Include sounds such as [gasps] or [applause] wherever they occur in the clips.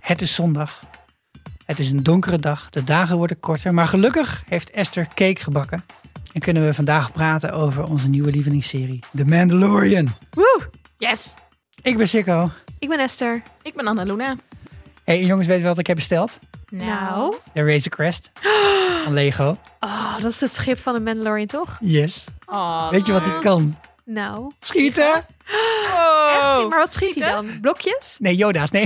Het is zondag. Het is een donkere dag. De dagen worden korter. Maar gelukkig heeft Esther cake gebakken. En kunnen we vandaag praten over onze nieuwe lievelingsserie, The Mandalorian. Woe! Yes! Ik ben Sikko. Ik ben Esther. Ik ben Anna Luna. hey, jongens, weet je wat ik heb besteld? Nou. De Razor Crest van Lego. Oh, dat is het schip van de Mandalorian, toch? Yes. Oh, Weet je wat ik kan? Nou. Schieten? Echt, Oh. maar wat schiet hij dan? Blokjes? Nee, Yoda's, nee.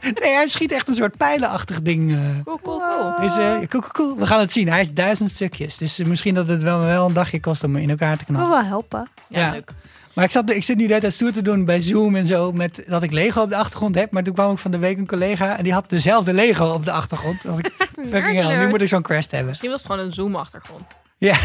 nee, hij schiet echt een soort pijlenachtig ding. eh. Cool, cool, cool. Dus eh, koe, koe, koe. we gaan het zien. Hij is duizend stukjes. Dus eh, misschien dat het wel, wel een dagje kost om hem in elkaar te Wil knallen. wel helpen. Ja, Ja. leuk. Maar ik, zat, ik zit nu net aan stoer te doen bij Zoom en zo. Met, dat ik Lego op de achtergrond heb. Maar toen kwam ik van de week een collega. En die had dezelfde Lego op de achtergrond. Dat ik, fucking hell, nu moet ik zo'n crest hebben. [laughs] Misschien was het gewoon een Zoom-achtergrond. Ja. Dat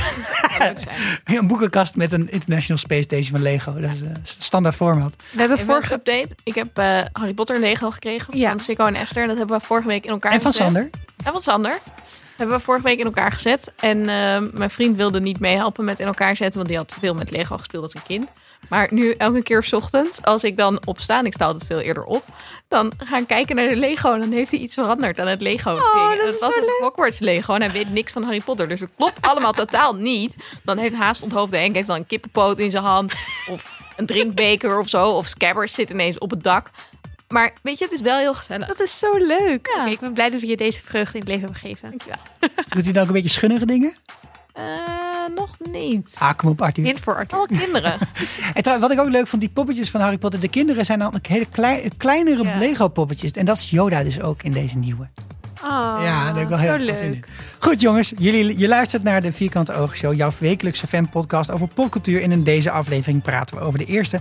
zou leuk [laughs] zijn. Een boekenkast met een International Space Station van Lego. Dat is eh, standaard format. We hebben Even een vorige... update. Ik heb eh, Harry Potter Lego gekregen Ja. van Sikko en Esther. Dat hebben we vorige week in elkaar En van gezet. Sander. En van Sander. Dat hebben we vorige week in elkaar gezet. En eh, mijn vriend wilde niet meehelpen met in elkaar zetten. Want die had veel met Lego gespeeld als een kind. Maar nu elke keer 's ochtends, als ik dan opsta, en ik sta altijd veel eerder op, dan ga ik kijken naar de Lego. En dan heeft hij iets veranderd aan het Lego. Oh, ding. dat het is was zo dus Hogwarts Lego en hij weet niks van Harry Potter. Dus het klopt allemaal totaal niet. Dan heeft haast onthoofde Henk heeft dan een kippenpoot in zijn hand. Of een drinkbeker of zo. Of Scabbers zit ineens op het dak. Maar weet je, het is wel heel gezellig. Dat is zo leuk. Ja. Oké, ik ben blij dat we je deze vreugde in het leven hebben gegeven. Dankjewel. Doet hij dan ook een beetje schunnige dingen? Eh, nog niet. Ah, kom op Arthur. Hint voor Arthur. Allemaal kinderen. En trouw- wat ik ook leuk vond, die poppetjes van Harry Potter. De kinderen zijn dan ook hele klei- kleinere Ja. Lego poppetjes. En dat is Yoda dus ook in deze nieuwe. Oh, ja, daar heb ik wel zo heel veel leuk. zin in. Goed jongens, jullie, je luistert naar de Vierkante Ogen Show. Jouw wekelijkse fanpodcast over popcultuur. En in deze aflevering praten we over de eerste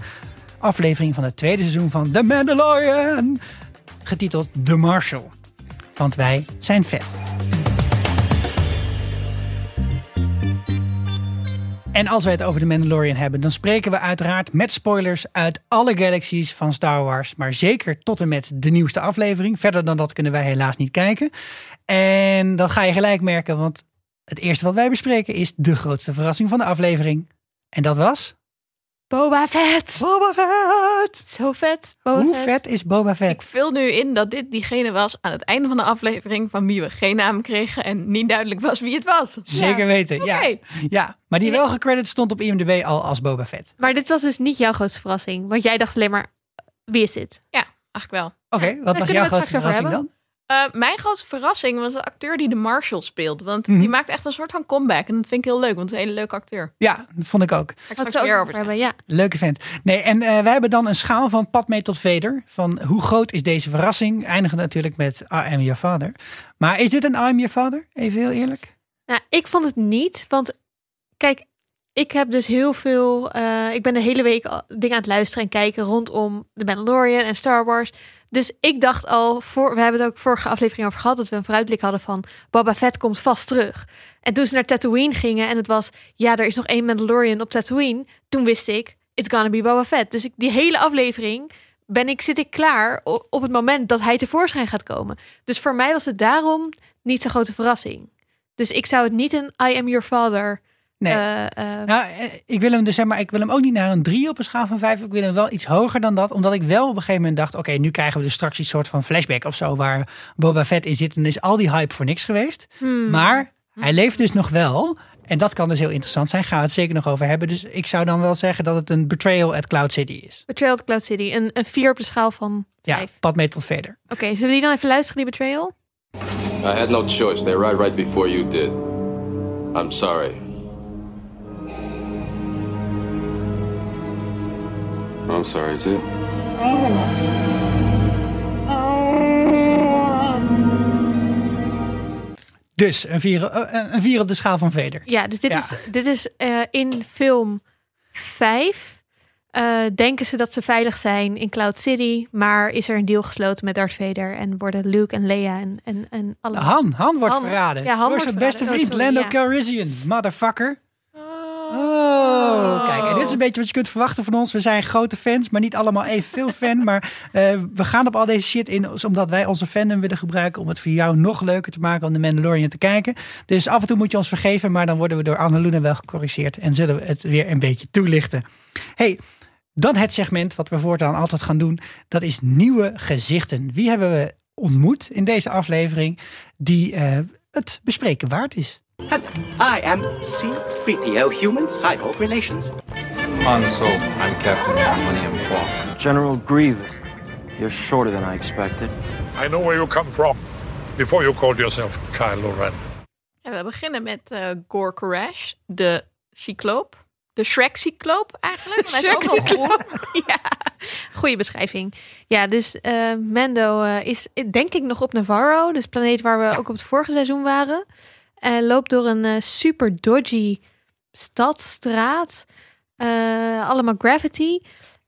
aflevering van het tweede seizoen van The Mandalorian. Getiteld The Marshal. Want wij zijn fan. En als wij het over de Mandalorian hebben, dan spreken we uiteraard met spoilers uit alle galaxies van Star Wars. Maar zeker tot en met de nieuwste aflevering. Verder dan dat kunnen wij helaas niet kijken. En dan ga je gelijk merken, want het eerste wat wij bespreken is de grootste verrassing van de aflevering. En dat was. Boba Fett. Boba Fett! Zo vet. Boba Hoe vet is Boba Fett? [laughs] Ik vul nu in dat dit diegene was aan het einde van de aflevering van wie we geen naam kregen en niet duidelijk was wie het was. Zeker weten, ja. Oké. ja. Maar die wel gecredit stond op IMDb al als Boba Fett. Maar dit was dus niet jouw grootste verrassing. Want jij dacht alleen maar, wie is dit? Ja, eigenlijk wel. Oké, wat daar was kunnen we jouw het grootste straks over verrassing dan? Eh, mijn grootste verrassing was de acteur die de Marshall speelt. Want Mhm. die maakt echt een soort van comeback. En dat vind ik heel leuk, want het is een hele leuke acteur. Ja, dat vond ik ook. Daar ga ik Wat straks meer nog over zeggen. hebben, ja. Leuke vent. Nee, en eh, wij hebben dan een schaal van Padme tot Vader. Van hoe groot is deze verrassing? Eindigen natuurlijk met I am your father. Maar is dit een I am your father? Even heel eerlijk. Nou, ik vond het niet, want kijk, ik heb dus heel veel. eh, ik ben de hele week al dingen aan het luisteren en kijken rondom de Mandalorian en Star Wars. Dus ik dacht al, voor, we hebben het ook vorige aflevering over gehad, dat we een vooruitblik hadden van Boba Fett komt vast terug. En toen ze naar Tatooine gingen en het was, ja, er is nog één Mandalorian op Tatooine. Toen wist ik, it's gonna be Boba Fett. Dus ik, die hele aflevering ben ik, zit ik klaar o- op het moment dat hij tevoorschijn gaat komen. Dus voor mij was het daarom niet zo'n grote verrassing. Dus ik zou het niet een I am your father. Nee. eh, eh, Nou, eh, ik wil hem dus zeg maar, ik wil hem ook niet naar een 3 op een schaal van 5. Ik wil hem wel iets hoger dan dat. Omdat ik wel op een gegeven moment dacht: oké, nu krijgen we dus straks iets soort van flashback of zo. Waar Boba Fett in zit. En is al die hype voor niks geweest. Hmm. Maar hij leeft dus nog wel. En dat kan dus heel interessant zijn. Gaan we het zeker nog over hebben. Dus ik zou dan wel zeggen dat het een betrayal at Cloud City is. Betrayal at Cloud City. Een, een vier op de schaal van Ja, vijf. Padme tot Vader. Oké, zullen we die dan even luisteren, die Betrayal? I had no choice. They arrived right before you did. I'm sorry. I'm sorry too. Dus een vier, eh, een vier op de schaal van Vader. Ja, dus dit Ja. is, dit is eh, in film vijf. Eh, denken ze dat ze veilig zijn in Cloud City. Maar is er een deal gesloten met Darth Vader. En worden Luke en Leia en, en, en alle... Han, Han wordt Han- verraden. ja, Han door wordt zijn verraden. beste Oh, vriend, sorry, Lando ja. Calrissian. Motherfucker. Oh. Oh, kijk, en dit is een beetje wat je kunt verwachten van ons. We zijn grote fans, maar niet allemaal evenveel fan. [laughs] Maar eh, we gaan op al deze shit in, dus omdat wij onze fandom willen gebruiken om het voor jou nog leuker te maken om de Mandalorian te kijken. Dus af en toe moet je ons vergeven, maar dan worden we door Anneloene wel gecorrigeerd en zullen we het weer een beetje toelichten. hey, Dan het segment wat we voortaan altijd gaan doen. Dat is nieuwe gezichten. Wie hebben we ontmoet in deze aflevering die eh, het bespreken waard is? Hello, I am C3PO Human Cyborg Relations. Unsold. I'm Captain Millennium Falcon. General Grievous, you're shorter than I expected. I know where you come from before you called yourself Kylo Ren. Ja, we beginnen met eh Gore Koresh, de cycloop. De Shrek-cycloop [laughs] eigenlijk. Hij is ook wel groen. ja, goede beschrijving. Ja, dus eh, Mando eh, is eh, denk ik nog op Navarro, dus planeet waar we ook op het vorige seizoen waren. En loopt door een eh, super dodgy stadstraat. Eh, allemaal gravity.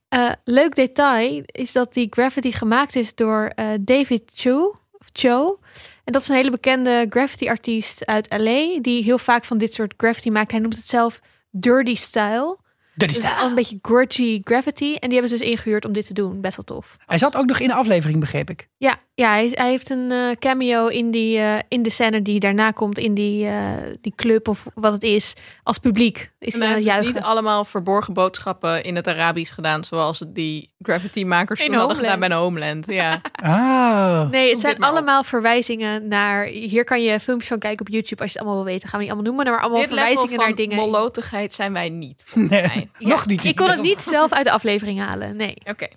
Eh, leuk detail is dat die gravity gemaakt is door eh, David Cho. Of Cho. En dat is een hele bekende graffiti artiest uit LA. Die heel vaak van dit soort graffiti maakt. Hij noemt het zelf dirty style. Dat is Dus daar. al een beetje grudgy gravity. En die hebben ze dus ingehuurd om dit te doen. Best wel tof. Hij zat ook nog in de aflevering, begreep ik. Ja, ja hij, hij heeft een eh, cameo in, die, eh, in de scène die daarna komt. In die, eh, die club of wat het is. Als publiek is hij En hij aan het heeft dus juichen. niet allemaal verborgen boodschappen in het Arabisch gedaan, zoals het die gravity-makers In toen hadden Homeland. gedaan bij de Homeland. [laughs] Ja. Ah, Nee, het zijn Zoek dit nou? maar op. allemaal verwijzingen naar... Hier kan je filmpjes van kijken op YouTube als je het allemaal wil weten. Gaan we niet allemaal noemen, maar allemaal Dit level verwijzingen van naar dingen. molotigheid zijn wij niet, volgens nee, [laughs] mij. nog niet. Ik kon het niet zelf uit de aflevering halen, nee. Oké.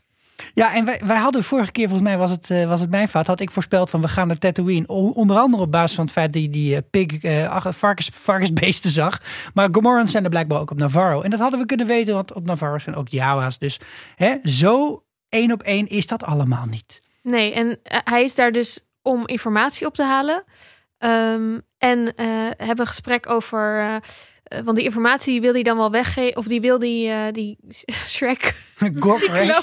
Ja, en wij, wij hadden vorige keer, volgens mij was het, eh, was het mijn fout, had ik voorspeld van we gaan naar Tatooine. O- Onder andere op basis van het feit dat je die eh, pig, eh, ach- varkens, varkensbeesten zag. Maar Gomorrans zijn er blijkbaar ook op Navarro. En dat hadden we kunnen weten, want op Navarro zijn ook Jawa's. Dus hè, zo één op één is dat allemaal niet. Nee, en eh, hij is daar dus om informatie op te halen. Ehm, en eh, hebben een gesprek over... eh, eh, want die informatie wil hij dan wel weggeven. Of die wil die, eh, die [laughs] Shrek Gorkrash.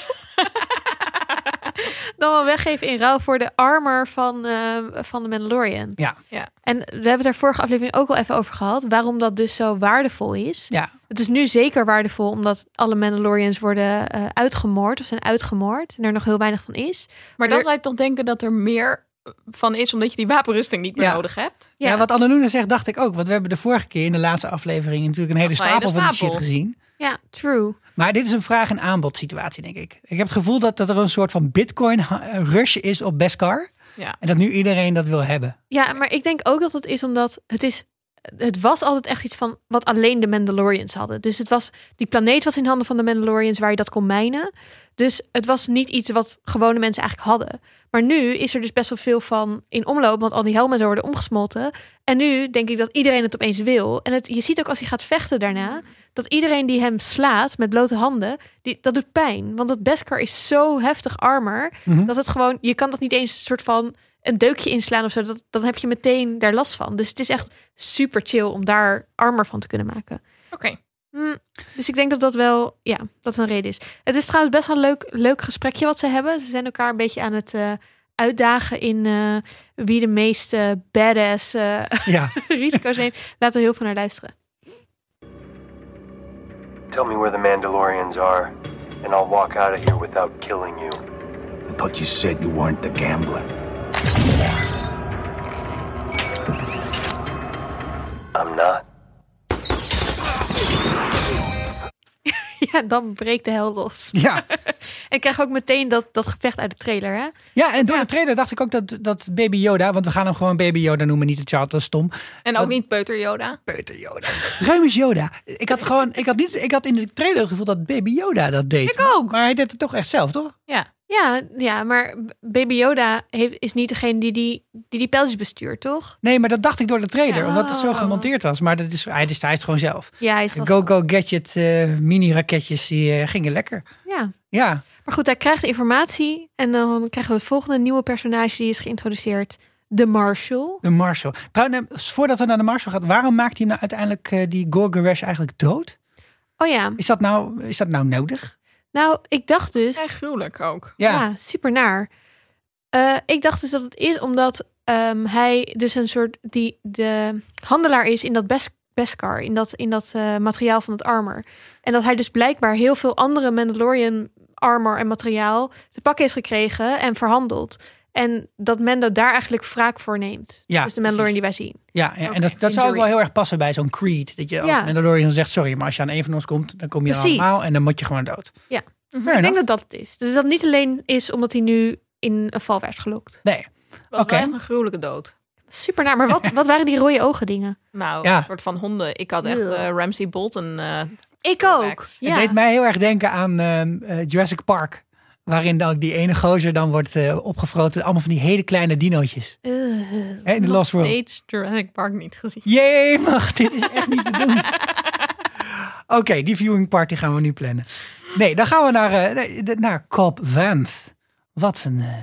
dan wel weggeven in ruil voor de armor van, eh, van de Mandalorian. Ja, En we hebben het daar vorige aflevering ook al even over gehad. Waarom dat dus zo waardevol is. ja. Het is nu zeker waardevol omdat alle Mandalorians worden eh, uitgemoord of zijn uitgemoord. En er nog heel weinig van is. Maar dan er- zou je toch denken dat er meer van is, omdat je die wapenrusting niet meer Ja. nodig hebt. Ja. wat Anneluna zegt, dacht ik ook. Want we hebben de vorige keer in de laatste aflevering natuurlijk een hele Nog een hele stapel van die stapel. shit gezien. ja, true. Maar dit is een vraag- en aanbod situatie, denk ik. Ik heb het gevoel dat, dat er een soort van bitcoin-rush is op Beskar. Ja. En dat nu iedereen dat wil hebben. Ja, maar ik denk ook dat het is omdat het is. Het was altijd echt iets van wat alleen de Mandalorians hadden. Dus het was die planeet was in handen van de Mandalorians waar je dat kon mijnen. Dus het was niet iets wat gewone mensen eigenlijk hadden. Maar nu is er dus best wel veel van in omloop, want al die helmen zo worden omgesmolten. En nu denk ik dat iedereen het opeens wil. En het, je ziet ook als hij gaat vechten daarna, dat iedereen die hem slaat met blote handen, die, dat doet pijn. Want dat Beskar is zo heftig armor, dat het gewoon, je kan dat niet eens een soort van een deukje inslaan of zo. Dat, dan heb je meteen daar last van. Dus het is echt super chill om daar armor van te kunnen maken. Oké. Hm, dus ik denk dat dat wel, ja, dat een reden is. Het is trouwens best wel een leuk, leuk gesprekje wat ze hebben. Ze zijn elkaar een beetje aan het eh, uitdagen in eh, wie de meeste badass eh, Ja, [laughs] risico's neemt. Laten we heel veel naar luisteren. Tell me where the Mandalorians are, and I'll walk out of here without killing you. I thought you said you weren't the gambler. I'm not. [laughs] Ja, dan breekt de hel los. ja. En ik krijg ook meteen dat, dat gevecht uit de trailer, hè? ja en door de trailer dacht ik ook dat, dat Baby Yoda, want we gaan hem gewoon Baby Yoda noemen, niet de child, dat is stom. En ook niet Peuter Yoda. Peuter Yoda. Ruim is Yoda. Ik had gewoon, ik had, niet, ik had in de trailer het gevoel dat Baby Yoda dat deed. Ik ook. Maar hij deed het toch echt zelf, toch? Ja. Ja, ja maar Baby Yoda heeft, is niet degene die die, die, die pijltjes bestuurt, toch? Nee, maar dat dacht ik door de trailer, Ja. omdat het zo gemonteerd was. Maar dat is, hij, is, hij is het gewoon zelf. Ja, hij is De gewoon- Go-Go Gadget eh, mini-raketjes, die eh, gingen lekker. Ja. Ja, Maar goed, hij krijgt informatie en dan krijgen we het volgende nieuwe personage die is geïntroduceerd. De Marshal. de Marshal. Trouwens, eh, voordat we naar de Marshal gaan, waarom maakt hij nou uiteindelijk eh, die Gorgoresh eigenlijk dood? Oh ja, Is dat nou, is dat nou nodig? nou ik dacht dus, Vrij gruwelijk ook. ja, super naar. Eh, ik dacht dus dat het is omdat ehm, hij dus een soort die de handelaar is in dat best Beskar, in dat, in dat eh, materiaal van het armor. En dat hij dus blijkbaar heel veel andere Mandalorian armor en materiaal te pakken heeft gekregen en verhandeld. En dat Mendo daar eigenlijk wraak voor neemt. Ja, dus de Mandalorian precies. die wij zien. Ja, ja Oké, en dat, dat zou ook injury. wel heel erg passen bij zo'n Creed. Dat je als Ja. Mandalorian zegt, sorry, maar als je aan één van ons komt, dan kom je aan Precies. allemaal en dan moet je gewoon dood. Ja. Mhm. Fair Ik denk enough. dat dat het is. Dus dat het niet alleen is omdat hij nu in een val werd gelokt. Nee. was Oké. wel echt een gruwelijke dood. Super naar. Maar [laughs] wat, wat waren die rode ogen dingen? Nou, Ja. een soort van honden. Ik had echt Ugh. eh, Ramsey Bolton. eh, Ik ook. Throwbacks. Het Ja. deed mij heel erg denken aan ehm, eh, Jurassic Park. Waarin dan ook die ene gozer dan wordt eh, opgefroten. Allemaal van die hele kleine dinootjes. Ugh. Hè, in The Lost World. steeds Jurassic Park niet gezien. Jee, mag, dit is echt niet te [laughs] doen. Oké, die viewing party gaan we nu plannen. Nee, dan gaan we naar, eh, nee, de- naar Cobb Vanth. Wat een eh,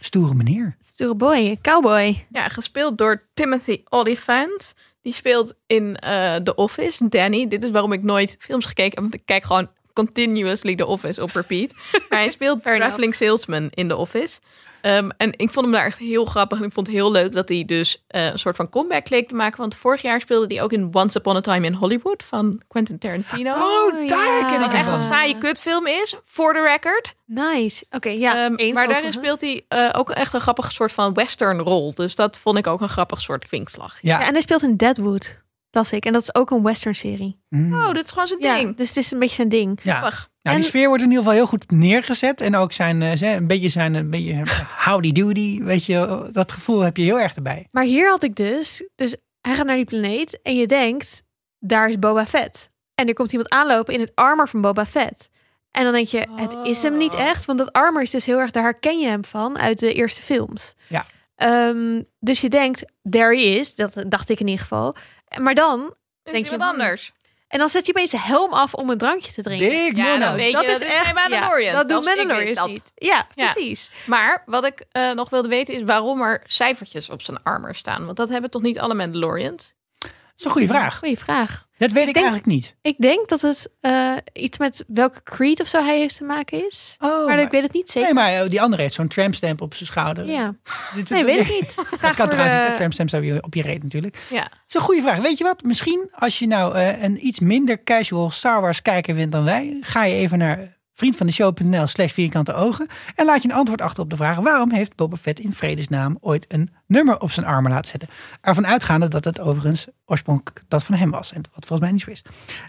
stoere meneer. Stoere boy. Cowboy. Ja, gespeeld door Timothy Olyphant. Die speelt in eh, The Office, Danny. Dit is waarom ik nooit films gekeken heb, want ik kijk gewoon continuously The Office op [laughs] repeat. maar hij speelt Fair enough. traveling salesman in The Office. Ehm, en ik vond hem daar echt heel grappig. En ik vond het heel leuk dat hij dus eh, een soort van comeback leek te maken. Want vorig jaar speelde hij ook in Once Upon a Time in Hollywood van Quentin Tarantino. Oh, daar ja. ken ik wat hem echt van. een saaie kutfilm is, voor de record. Nice. Oké, ja. Ehm, eens maar daarin overigens. speelt hij eh, ook echt een grappig soort van western rol. Dus dat vond ik ook een grappig soort kwinkslag. Ja, Ja, en hij speelt in Deadwood. Las ik. En dat is ook een western serie. mm. Oh, dit is gewoon zijn Ja, ding. dus het is een beetje zijn ding. ja. Grappig. Nou, En- die sfeer wordt in ieder geval heel goed neergezet. En ook zijn, eh, zijn- een beetje zijn, een beetje zijn howdy doody. Weet je, dat gevoel heb je heel erg erbij. Maar hier had ik dus, dus hij gaat naar die planeet en je denkt, daar is Boba Fett. En er komt iemand aanlopen in het armor van Boba Fett. En dan denk je, het is hem niet Oh. echt, want dat armor is dus heel erg, daar herken je hem van uit de eerste films. Ja. Ehm, dus je denkt, there he is, dat dacht ik in ieder geval. Maar dan, Is Denk Denk je, je wat hmm. anders? en dan zet je opeens een helm af om een drankje te drinken. Big Ja, Mono. dan weet je, dat is bij Mandalorian. Ja, dat doen Zelfs ik wist Mandalorians dat. niet. Ja, Ja. precies. Maar wat ik eh, nog wilde weten is waarom er cijfertjes op zijn armor staan. Want dat hebben toch niet alle Mandalorians? Dat is een goede vraag. Goeie vraag. Dat weet ik, denk- eigenlijk niet. Ik denk dat het eh, iets met welke creed of zo hij heeft te maken is. Oh, maar, ik weet het niet zeker. Nee, maar eh, die andere heeft zo'n tramstamp op zijn schouder. Ja. Dit- Nee, weet ik [laughs] niet. Vraag Dat voor eh, kan trouwens de- niet. hè? Tramstamps heb je op je reet natuurlijk. Ja. Dat is een goede vraag. Weet je wat? Misschien als je nou eh, een iets minder casual Star Wars kijker bent dan wij, ga je even naar vriendvandeshow.nl slash vierkante ogen en laat je een antwoord achter op de vraag waarom heeft Boba Fett in vredesnaam ooit een nummer op zijn armen laten zetten. Ervan uitgaande dat het overigens oorspronkelijk dat van hem was. En wat volgens mij niet zo is.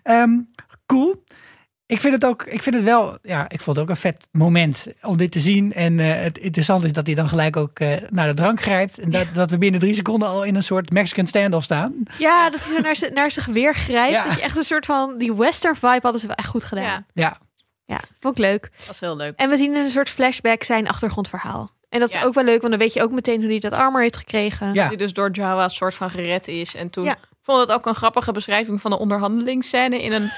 Ehm, cool. Ik vind het ook, ik vind het wel, ja, ik vond het ook een vet moment om dit te zien. En eh, het interessante is dat hij dan gelijk ook eh, naar de drank grijpt. En dat, dat we binnen drie seconden al in een soort Mexican standoff staan. Ja, dat is naar, zijn- naar zijn geweer grijpt. Ja. Dat je echt een soort van... Die western vibe hadden ze wel echt goed gedaan. Ja. Ja. Ja, vond ik leuk. Dat is heel leuk. En we zien in een soort flashback zijn achtergrondverhaal. En dat is Ja. ook wel leuk, want dan weet je ook meteen hoe hij dat armor heeft gekregen. ja. Die dus door Jawa een soort van gered is. En toen Ja. vond het ook een grappige beschrijving van de onderhandelingsscène in [laughs] een...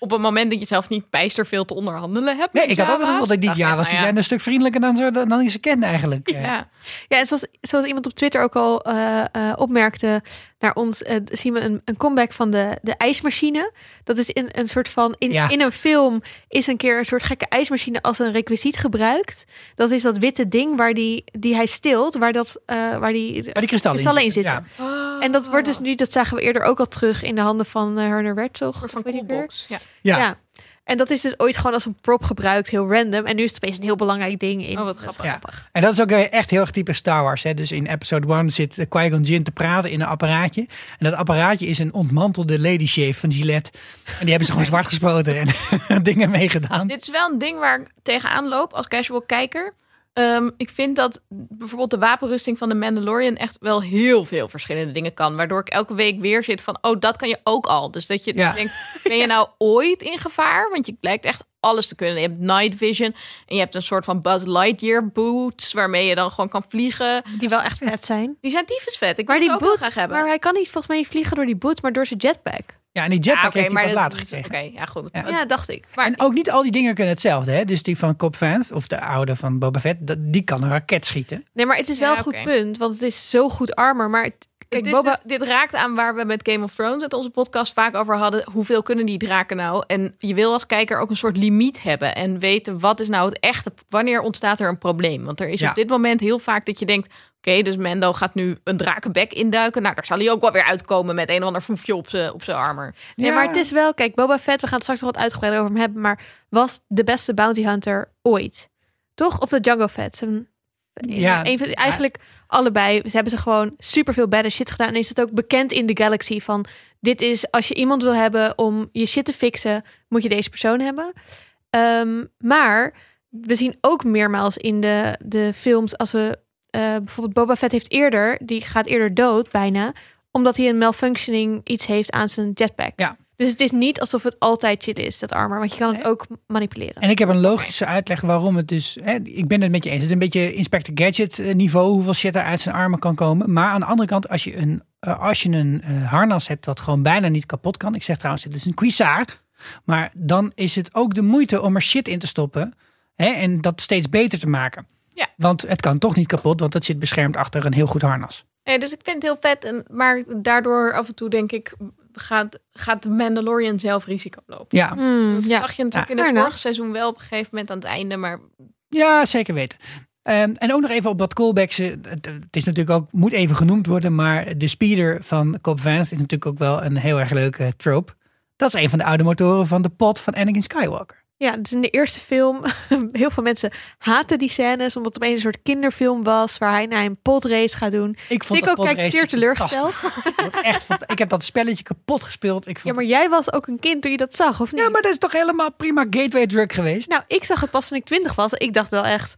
Op een moment dat je zelf niet bijster veel te onderhandelen hebt. Nee, met ik had ook het Jawa's, gevoel dat die dacht ik, Java's nou die ja. zijn dus- een stuk vriendelijker dan, ze- dan ik ze ken eigenlijk. Eh, Ja. Ja, en zoals, zoals iemand op Twitter ook al eh, eh, opmerkte naar ons, eh, zien we een, een comeback van de, de ijsmachine. Dat is in een soort van, in, Ja. in een film is een keer een soort gekke ijsmachine als een requisiet gebruikt. Dat is dat witte ding waar die, die hij stilt, waar, dat, eh, waar die Waar die kristallen in kristallen in zitten, zitten. En dat wordt dus nu, dat zagen we eerder ook al terug in de handen van eh, Herner Wertzog. Een soort weet van ik weer. coolbox. Ja. Ja. Ja. En dat is dus ooit gewoon als een prop gebruikt, heel random. En nu is het opeens een heel belangrijk ding in. Oh, wat Dat is grappig. Ja. En dat is ook eh, echt heel erg typisch Star Wars. Hè? Dus in episode 1 zit eh, Qui-Gon Jinn te praten in een apparaatje. En dat apparaatje is een ontmantelde lady shave van Gillette. En die [laughs] hebben ze gewoon zwart gespoten en [laughs] dingen meegedaan. Dit is wel een ding waar ik tegenaan loop als casual kijker. Ehm, ik vind dat bijvoorbeeld de wapenrusting van de Mandalorian echt wel heel veel verschillende dingen kan. Waardoor ik elke week weer zit van, oh, dat kan je ook al. Dus dat je Ja. [laughs] denkt, ben je nou ooit in gevaar? Want je lijkt echt alles te kunnen. Je hebt night vision en je hebt een soort van Buzz Lightyear boots waarmee je dan gewoon kan vliegen. Die wel echt vet zijn. Die zijn tyfus vet. Ik Maar wil die die ook wel boot, graag hebben. maar hij kan niet volgens mij niet vliegen door die boot, maar door zijn jetpack. Ja, en die jetpack Ah, oké, heeft hij pas maar dat- later gekregen. Oké, ja goed. Ja. Ja, dacht ik. Maar En ook niet al die dingen kunnen hetzelfde. Hè? Dus die van Cobb Vanth, of de oude van Boba Fett, dat- die kan een raket schieten. Nee, maar het is wel Ja, een goed oké. punt, want het is zo goed armor. Maar het- kijk, Het is Boba, dus- dit raakt aan waar we met Game of Thrones het onze podcast vaak over hadden. Hoeveel kunnen die draken nou? En je wil als kijker ook een soort limiet hebben en weten wat is nou het echte. Wanneer ontstaat er een probleem? Want er is Ja. op dit moment heel vaak dat je denkt. Oké, dus Mendo gaat nu een drakenbek induiken. Nou, daar zal hij ook wel weer uitkomen met een of ander foefje op zijn op zijn armor. nee, maar het is wel, kijk, Boba Fett, we gaan het straks nog wat uitgebreider over hem hebben, maar was de beste bounty hunter ooit. Toch? Of de Django Fett, zijn Ja. Eén van- eigenlijk allebei. Ze hebben ze gewoon super veel badass shit gedaan. En is het ook bekend in de galaxy van dit is als je iemand wil hebben om je shit te fixen, moet je deze persoon hebben. Ehm, maar we zien ook meermaals in de, de films als we eh, bijvoorbeeld Boba Fett heeft eerder, die gaat eerder dood bijna, omdat hij een malfunctioning iets heeft aan zijn jetpack. Ja. Dus het is niet alsof het altijd shit is, dat armor, want je kan het ook manipuleren. En ik heb een logische uitleg waarom het dus. Hè, ik ben het met je eens. Het is een beetje Inspector Gadget eh, niveau, hoeveel shit er uit zijn armen kan komen. Maar aan de andere kant, als je een, eh, als je een eh, harnas hebt wat gewoon bijna niet kapot kan. Ik zeg trouwens, dit is een quisar. Maar dan is het ook de moeite om er shit in te stoppen. Hè, en dat steeds beter te maken. Ja. Want het kan toch niet kapot, want dat zit beschermd achter een heel goed harnas. Nee, dus ik vind het heel vet. En, maar daardoor af en toe denk ik, gaat, gaat de Mandalorian zelf risico lopen. Ja. Hmm, Dat ja. zag je natuurlijk Ja, in het fair vorige seizoen wel op een gegeven moment aan het einde. Maar Ja, zeker weten. Ehm, en ook nog even op dat callback. ze- Het, het is natuurlijk ook, moet even genoemd worden, maar de speeder van Cobb Vance is natuurlijk ook wel een heel erg leuke eh, trope. Dat is een van de oude motoren van de pot van Anakin Skywalker. Ja, dus in de eerste film, [laughs] heel veel mensen haten die scènes, omdat het opeens een soort kinderfilm was, waar hij naar een podrace gaat doen. Dus Ik vond dat Sikko kijkt podrace zeer fantastisch. teleurgesteld. Ik vond het echt fant- ik heb dat spelletje kapot gespeeld. Ik Ja, vond, maar jij was ook een kind toen je dat zag, of niet? ja, maar dat is toch helemaal prima gateway drug geweest? Nou, ik zag het pas toen ik twintig was. Ik dacht wel echt,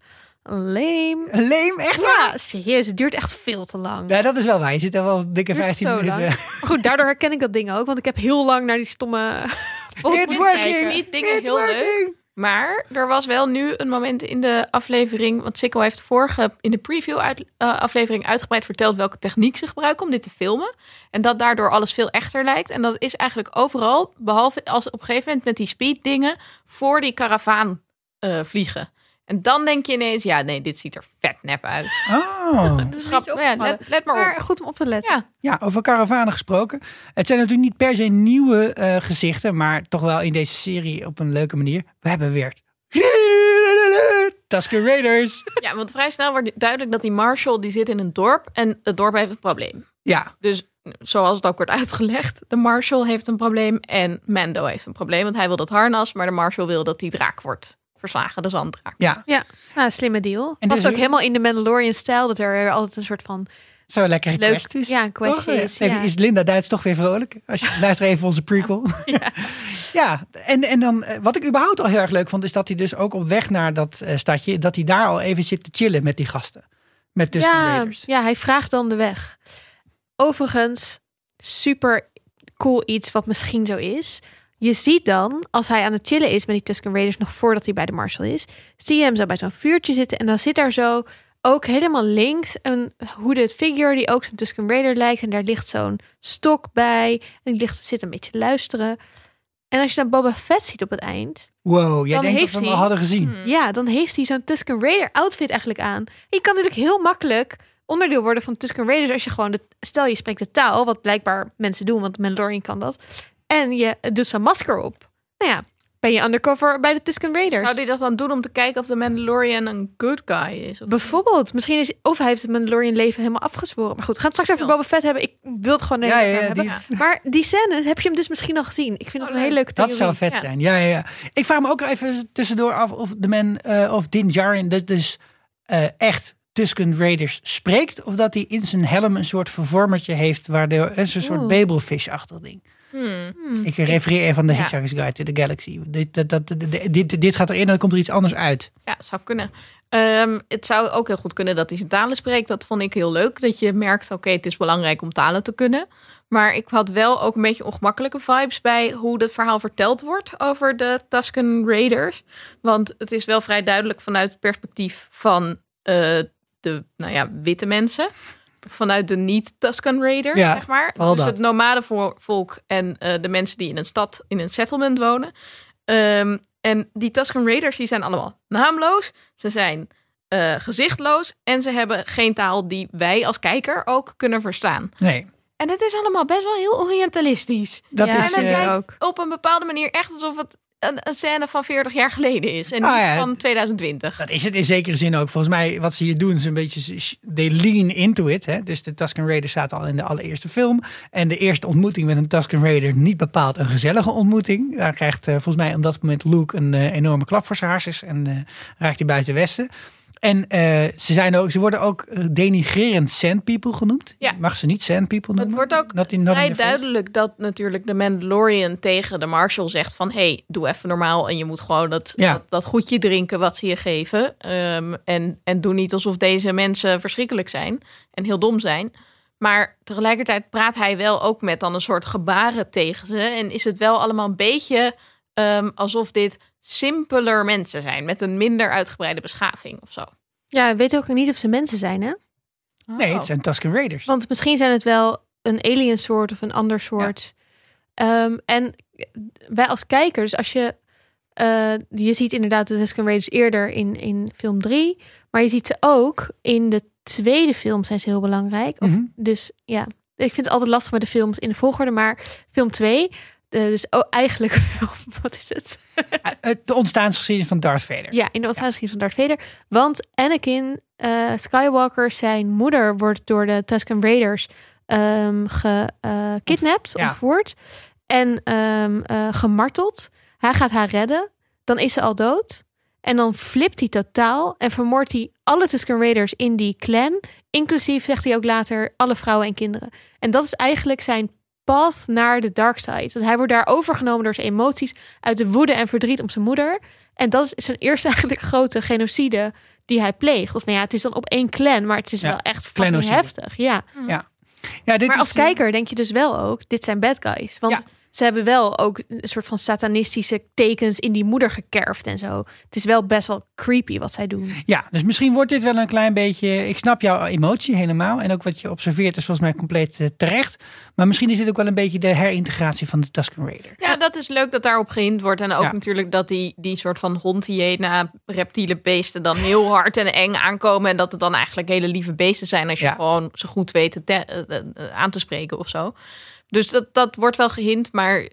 leem. Leem, echt waar? Ja, serieus, het duurt echt veel te lang. Ja, dat is wel waar. Je zit er wel dikke Het duurt 15 zo minuten. lang. Maar Goed, daardoor herken ik dat ding ook, want ik heb heel lang naar die stomme... [laughs] It's working! niet dingen It's heel leuk. working! Maar er was wel nu een moment in de aflevering. Want Sikko heeft vorige in de preview uit, eh, aflevering uitgebreid verteld welke techniek ze gebruiken om dit te filmen. En dat daardoor alles veel echter lijkt. En dat is eigenlijk overal, behalve als op een gegeven moment met die speed dingen voor die karavaan eh, vliegen. En dan denk je ineens, ja nee, dit ziet er vet nep uit. [laughs] Oh. Dus grap, niet ja, opgevallen. let, let maar Maar op. goed om op te letten. Ja. Ja, over karavanen gesproken. Het zijn natuurlijk niet per se nieuwe eh, gezichten, maar toch wel in deze serie op een leuke manier. We hebben weer [laughs] Tusker Raiders. Ja, want vrij snel wordt duidelijk dat die Marshall die zit in een dorp. En het dorp heeft een probleem. Ja, Dus zoals het ook wordt uitgelegd, de Marshall heeft een probleem en Mando heeft een probleem. Want hij wil dat harnas, maar de Marshall wil dat die draak wordt verslagen, de zanddraak. ja, Ja, nou, slimme deal. En En was dus- ook helemaal in de Mandalorian-stijl, dat er weer altijd een soort van... zo lekker Leuk. gekwetst is. Ja, een kwestie Toch? Eh, is, even- ja. Is Linda Duits toch weer vrolijk? Als je luistert even onze prequel. [laughs] Ja, en, en dan eh, wat ik überhaupt al heel erg leuk vond, is dat hij dus ook op weg naar dat eh, stadje, dat hij daar al even zit te chillen met die gasten. Met Tusker Ja, Raiders. ja, hij vraagt dan de weg. Overigens, super cool iets wat misschien zo is. Je ziet dan, als hij aan het chillen is met die Tusken Raiders, nog voordat hij bij de Marshal is, zie je hem zo bij zo'n vuurtje zitten. En dan zit daar zo ook helemaal links een hooded figure die ook zo'n Tusken Raider lijkt. En daar ligt zo'n stok bij. En die ligt, zit een beetje te luisteren. En als je dan Boba Fett ziet op het eind, Wow, jij denkt Dan dat we hem heeft hij- Hmm. al hadden gezien. Mm. ja, dan heeft hij zo'n Tusken Raider outfit eigenlijk aan. Je kan natuurlijk heel makkelijk onderdeel worden van Tusken Raiders als je gewoon de, stel je spreekt de taal, wat blijkbaar mensen doen, want Mandalorian kan dat. En je doet zijn masker op. Nou ja, ben je undercover bij de Tusken Raiders. Zou die dat dan doen om te kijken of de Mandalorian een good guy is? Of- Bijvoorbeeld, misschien is of hij heeft het Mandalorian leven helemaal afgezworen. Maar goed, we gaan het straks even Ja. Boba Fett hebben. Ik wil het gewoon Ja, even ja, ja, hebben. Maar die scène heb je hem dus misschien al gezien. Ik vind Oh, dat een hele leuke theorie. Dat zou vet ja. zijn. Ja, ja, ja. Ik vraag me ook even tussendoor af of de man eh, of Din Djarin dat dus eh, echt Tusken Raiders spreekt of dat hij in zijn helm een soort vervormertje heeft waar de eh, zo'n soort Oeh. babelfish-achtig ding. Hmm. Ik refereer even aan de Ja. Hitchhiker's Guide to the Galaxy. Dit, dat, dat, dit- dit, dit gaat erin en dan komt er iets anders uit. Ja, zou kunnen. Ehm, het zou ook heel goed kunnen dat hij zijn talen spreekt. Dat vond ik heel leuk. Dat je merkt, oké, het is belangrijk om talen te kunnen. Maar ik had wel ook een beetje ongemakkelijke vibes bij hoe dat verhaal verteld wordt over de Tusken Raiders. Want het is wel vrij duidelijk vanuit het perspectief van eh, de nou ja, witte mensen. Vanuit de niet-Tusken Raider, Ja, zeg maar. vooral Dus dat. het nomadenvolk en eh, de mensen die in een stad, in een settlement wonen. Ehm, en die Tusken Raiders die zijn allemaal naamloos. Ze zijn eh, gezichtloos. En ze hebben geen taal die wij als kijker ook kunnen verstaan. Nee, En het is allemaal best wel heel orientalistisch. dat Ja, En is... het eh, denk ik lijkt ook. op een bepaalde manier echt alsof het een, een scène van 40 jaar geleden is. En Ah, niet ja. van 2020. Dat is het in zekere zin ook. Volgens mij, wat ze hier doen, is een beetje. ze- sh- They lean into it. Hè? Dus de Tusken Raider staat al in de allereerste film. En de eerste ontmoeting met een Tusken Raider, niet bepaald een gezellige ontmoeting. Daar krijgt eh, volgens mij op dat moment Luke een eh, enorme klap voor zijn harses. En eh, raakt hij buiten Westen. En eh, ze, zijn ook, ze worden ook eh, denigrerend sand people genoemd. Ja. Mag ze niet sand people Het noemen? wordt ook Not in- not in vrij the face. duidelijk dat natuurlijk de Mandalorian tegen de Marshal zegt van... hey, doe even normaal en je moet gewoon dat, Ja. dat, dat goedje drinken wat ze je geven. Ehm, en, en doe niet alsof deze mensen verschrikkelijk zijn en heel dom zijn. Maar tegelijkertijd praat hij wel ook met dan een soort gebaren tegen ze. En is het wel allemaal een beetje ehm, alsof dit simpeler mensen zijn... met een minder uitgebreide beschaving of zo. Ja, we weten ook niet of ze mensen zijn, hè? Nee, Oh. het zijn Tusken Raiders. Want misschien zijn het wel een alien soort of een ander soort. Ehm, en wij als kijkers, als je... eh, je ziet inderdaad de Tusken Raiders eerder in, in film 3. Maar je ziet ze ook in de tweede film zijn ze heel belangrijk. Oh. Of, Mhm. Dus ja, ik vind het altijd lastig met de films in de volgorde. Maar film 2, dus oh, eigenlijk [laughs] film, wat is het? Het- Eh, De ontstaansgeschiedenis van Darth Vader. Ja, in de ontstaansgeschiedenis van Darth Vader. Want Anakin eh, Skywalker, zijn moeder, wordt door de Tusken Raiders ehm, gekidnapt, Ja. ontvoerd en ehm, eh, gemarteld. Hij gaat haar redden. Dan is ze al dood. En dan flipt hij totaal en vermoordt hij alle Tusken Raiders in die clan. Inclusief, zegt hij ook later, alle vrouwen en kinderen. En dat is eigenlijk zijn path naar de dark side. Dat hij wordt daar overgenomen door zijn emoties uit de woede en verdriet om zijn moeder. En dat is zijn eerste [laughs] eigenlijk grote genocide die hij pleegt. Of nou ja, het is dan op één clan, maar het is Ja, wel echt fucking clanocide. heftig. Ja. Ja, dit Maar is- als kijker denk je dus wel ook, dit zijn bad guys. Want Ja. ze hebben wel ook een soort van satanistische tekens in die moeder gekerfd en zo. Het is wel best wel creepy wat zij doen. Ja, dus misschien wordt dit wel een klein beetje. Ik snap jouw emotie helemaal. En ook wat je observeert is volgens mij compleet eh, terecht. Maar misschien is dit ook wel een beetje de herintegratie van de Tusken Raider. Ja, dat is leuk dat daarop gehind wordt. En ook Ja. natuurlijk dat die, die soort van hondhyena, reptiele beesten dan heel hard en eng aankomen. En dat het dan eigenlijk hele lieve beesten zijn als je Ja. gewoon ze goed weet te, te- eh, eh, eh, aan te spreken of zo. Dus dat, dat wordt wel gehind, maar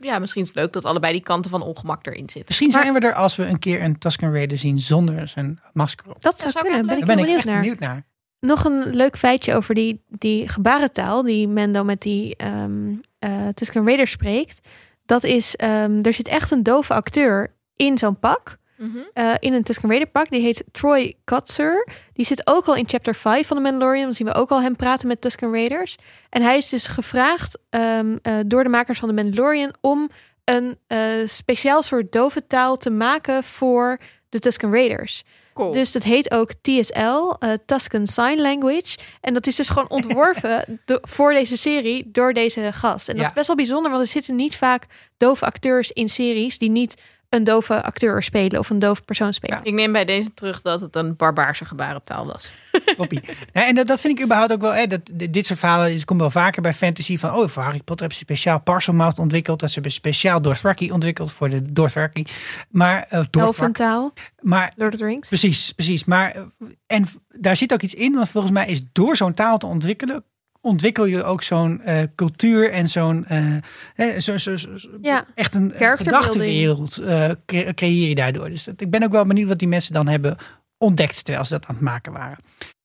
ja, misschien is het leuk dat allebei die kanten van ongemak erin zitten. Misschien zijn we er als we een keer een Tusken Raider zien zonder zijn masker op. Dat zou, zou zou ik kunnen, kunnen, ben echt ik Daar heel ben ik benieuwd echt naar. benieuwd naar. Nog een leuk feitje over die, die gebarentaal die Mendo met die ehm eh, Tusken Raider spreekt. Dat is, ehm, er zit echt een dove acteur in zo'n pak. Mhm. eh, in een Tusken Raider pak. Die heet Troy Kotzer. Die zit ook al in chapter 5 van de Mandalorian. Dan zien we ook al hem praten met Tusken Raiders. En hij is dus gevraagd ehm, eh, door de makers van de Mandalorian... om een eh, speciaal soort dove taal te maken voor de Tusken Raiders. Cool. Dus dat heet ook TSL, eh Tuscan Sign Language. En dat is dus gewoon [laughs] ontworpen do- voor deze serie door deze gast. En dat Ja. is best wel bijzonder, want er zitten niet vaak dove acteurs in series die niet een dove acteur spelen of een doof persoon spelen. Ik neem bij deze terug dat het een barbaarse gebarentaal was. Kloppie. [laughs] Nee, en dat, dat vind ik überhaupt ook wel. Hè, dat, dit dit soort verhalen is, komt wel vaker bij fantasy. Van oh, voor Harry Potter hebben ze speciaal Parselmouth ontwikkeld. Dat ze hebben speciaal Dothraki ontwikkeld voor de Dothraki. Maar, eh, Dothraki. Elfentaal, maar Lord of the Rings. Precies, precies. Maar eh, en v- daar zit ook iets in, want volgens mij is door zo'n taal te ontwikkelen, ontwikkel je ook zo'n eh, cultuur en zo'n eh, hè, zo, zo, zo- zo- Ja. echt een eh, Character building. gedachtewereld eh, cre- creëer je daardoor. Dus dat, ik ben ook wel benieuwd wat die mensen dan hebben ontdekt terwijl ze dat aan het maken waren.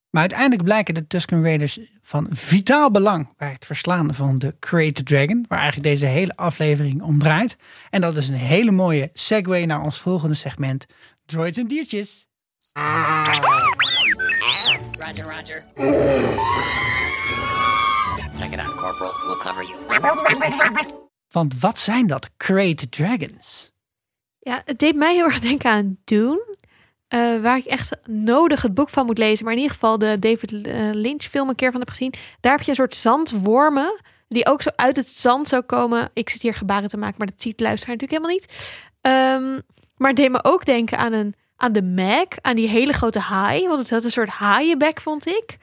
Maar uiteindelijk blijken de Tusken Raiders van vitaal belang bij het verslaan van de Great Dragon, waar eigenlijk deze hele aflevering om draait. En dat is een hele mooie segue naar ons volgende segment: droids en diertjes. Roger, roger. Check it out, Corporal. We'll cover you. Want wat zijn dat? Great Dragons. Ja, het deed mij heel erg denken aan Dune. eh, waar ik echt nodig het boek van moet lezen. Maar in ieder geval de David eh, Lynch film een keer van heb gezien. Daar heb je een soort zandwormen. Die ook zo uit het zand zou komen. Ik zit hier gebaren te maken, maar dat ziet de luisteraar natuurlijk helemaal niet. Ehm, maar het deed me ook denken aan, een, aan de Mac. Aan die hele grote haai. Want het had een soort haaienbek, vond [laughs] ik.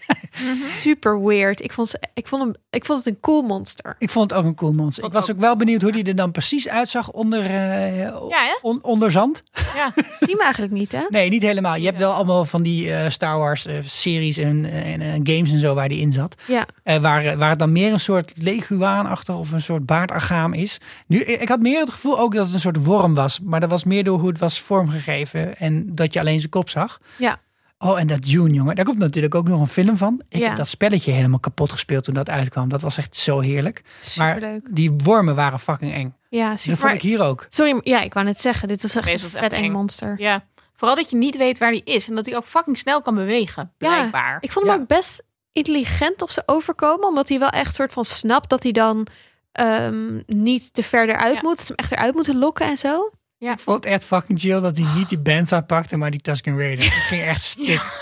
Mhm. Super weird. Ik vond, ze- ik, vond hem, ik vond het een cool monster. Ik vond het ook een cool monster. Ik Vond was ook ook wel benieuwd hoe die er dan precies uitzag onder, eh, Ja, hè? on- onder zand. Ja. [laughs] Zie hem eigenlijk niet, hè? Nee, niet helemaal. Je hebt wel allemaal van die eh, Star Wars eh, series en, en eh, games en zo waar die in zat. Ja. Eh, waar, waar het dan meer een soort leguaanachtig of een soort baardagaam is. Nu, eh, ik had meer het gevoel ook dat het een soort worm was. Maar dat was meer door hoe het was vormgegeven en dat je alleen zijn kop zag. Ja. Oh, en dat Dune, jongen. Daar komt natuurlijk ook nog een film van. Ik Ja. heb dat spelletje helemaal kapot gespeeld toen dat uitkwam. Dat was echt zo heerlijk. Maar Superleuk. die wormen waren fucking eng. Ja, Dat super. vond ik hier ook. Sorry, maar- ja, ik wou net zeggen, dit was echt Deze een was vet echt eng eng. monster. Ja, Vooral dat je niet weet waar die is en dat hij ook fucking snel kan bewegen, blijkbaar. Ik vond hem ook best intelligent op ze overkomen. Omdat hij wel echt soort van snapt dat hij dan ehm, niet te verder uit Ja. moet. Dat ze hem echt eruit moeten lokken en zo. Ik vond het echt fucking chill dat hij niet die Banta pakte, maar die Tusken Raider. Dat ging echt [laughs] stik. [laughs]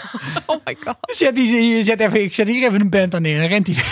Oh my god. Zet die, zet even, ik zet hier even een Banta neer. Dan rent hij. Ja.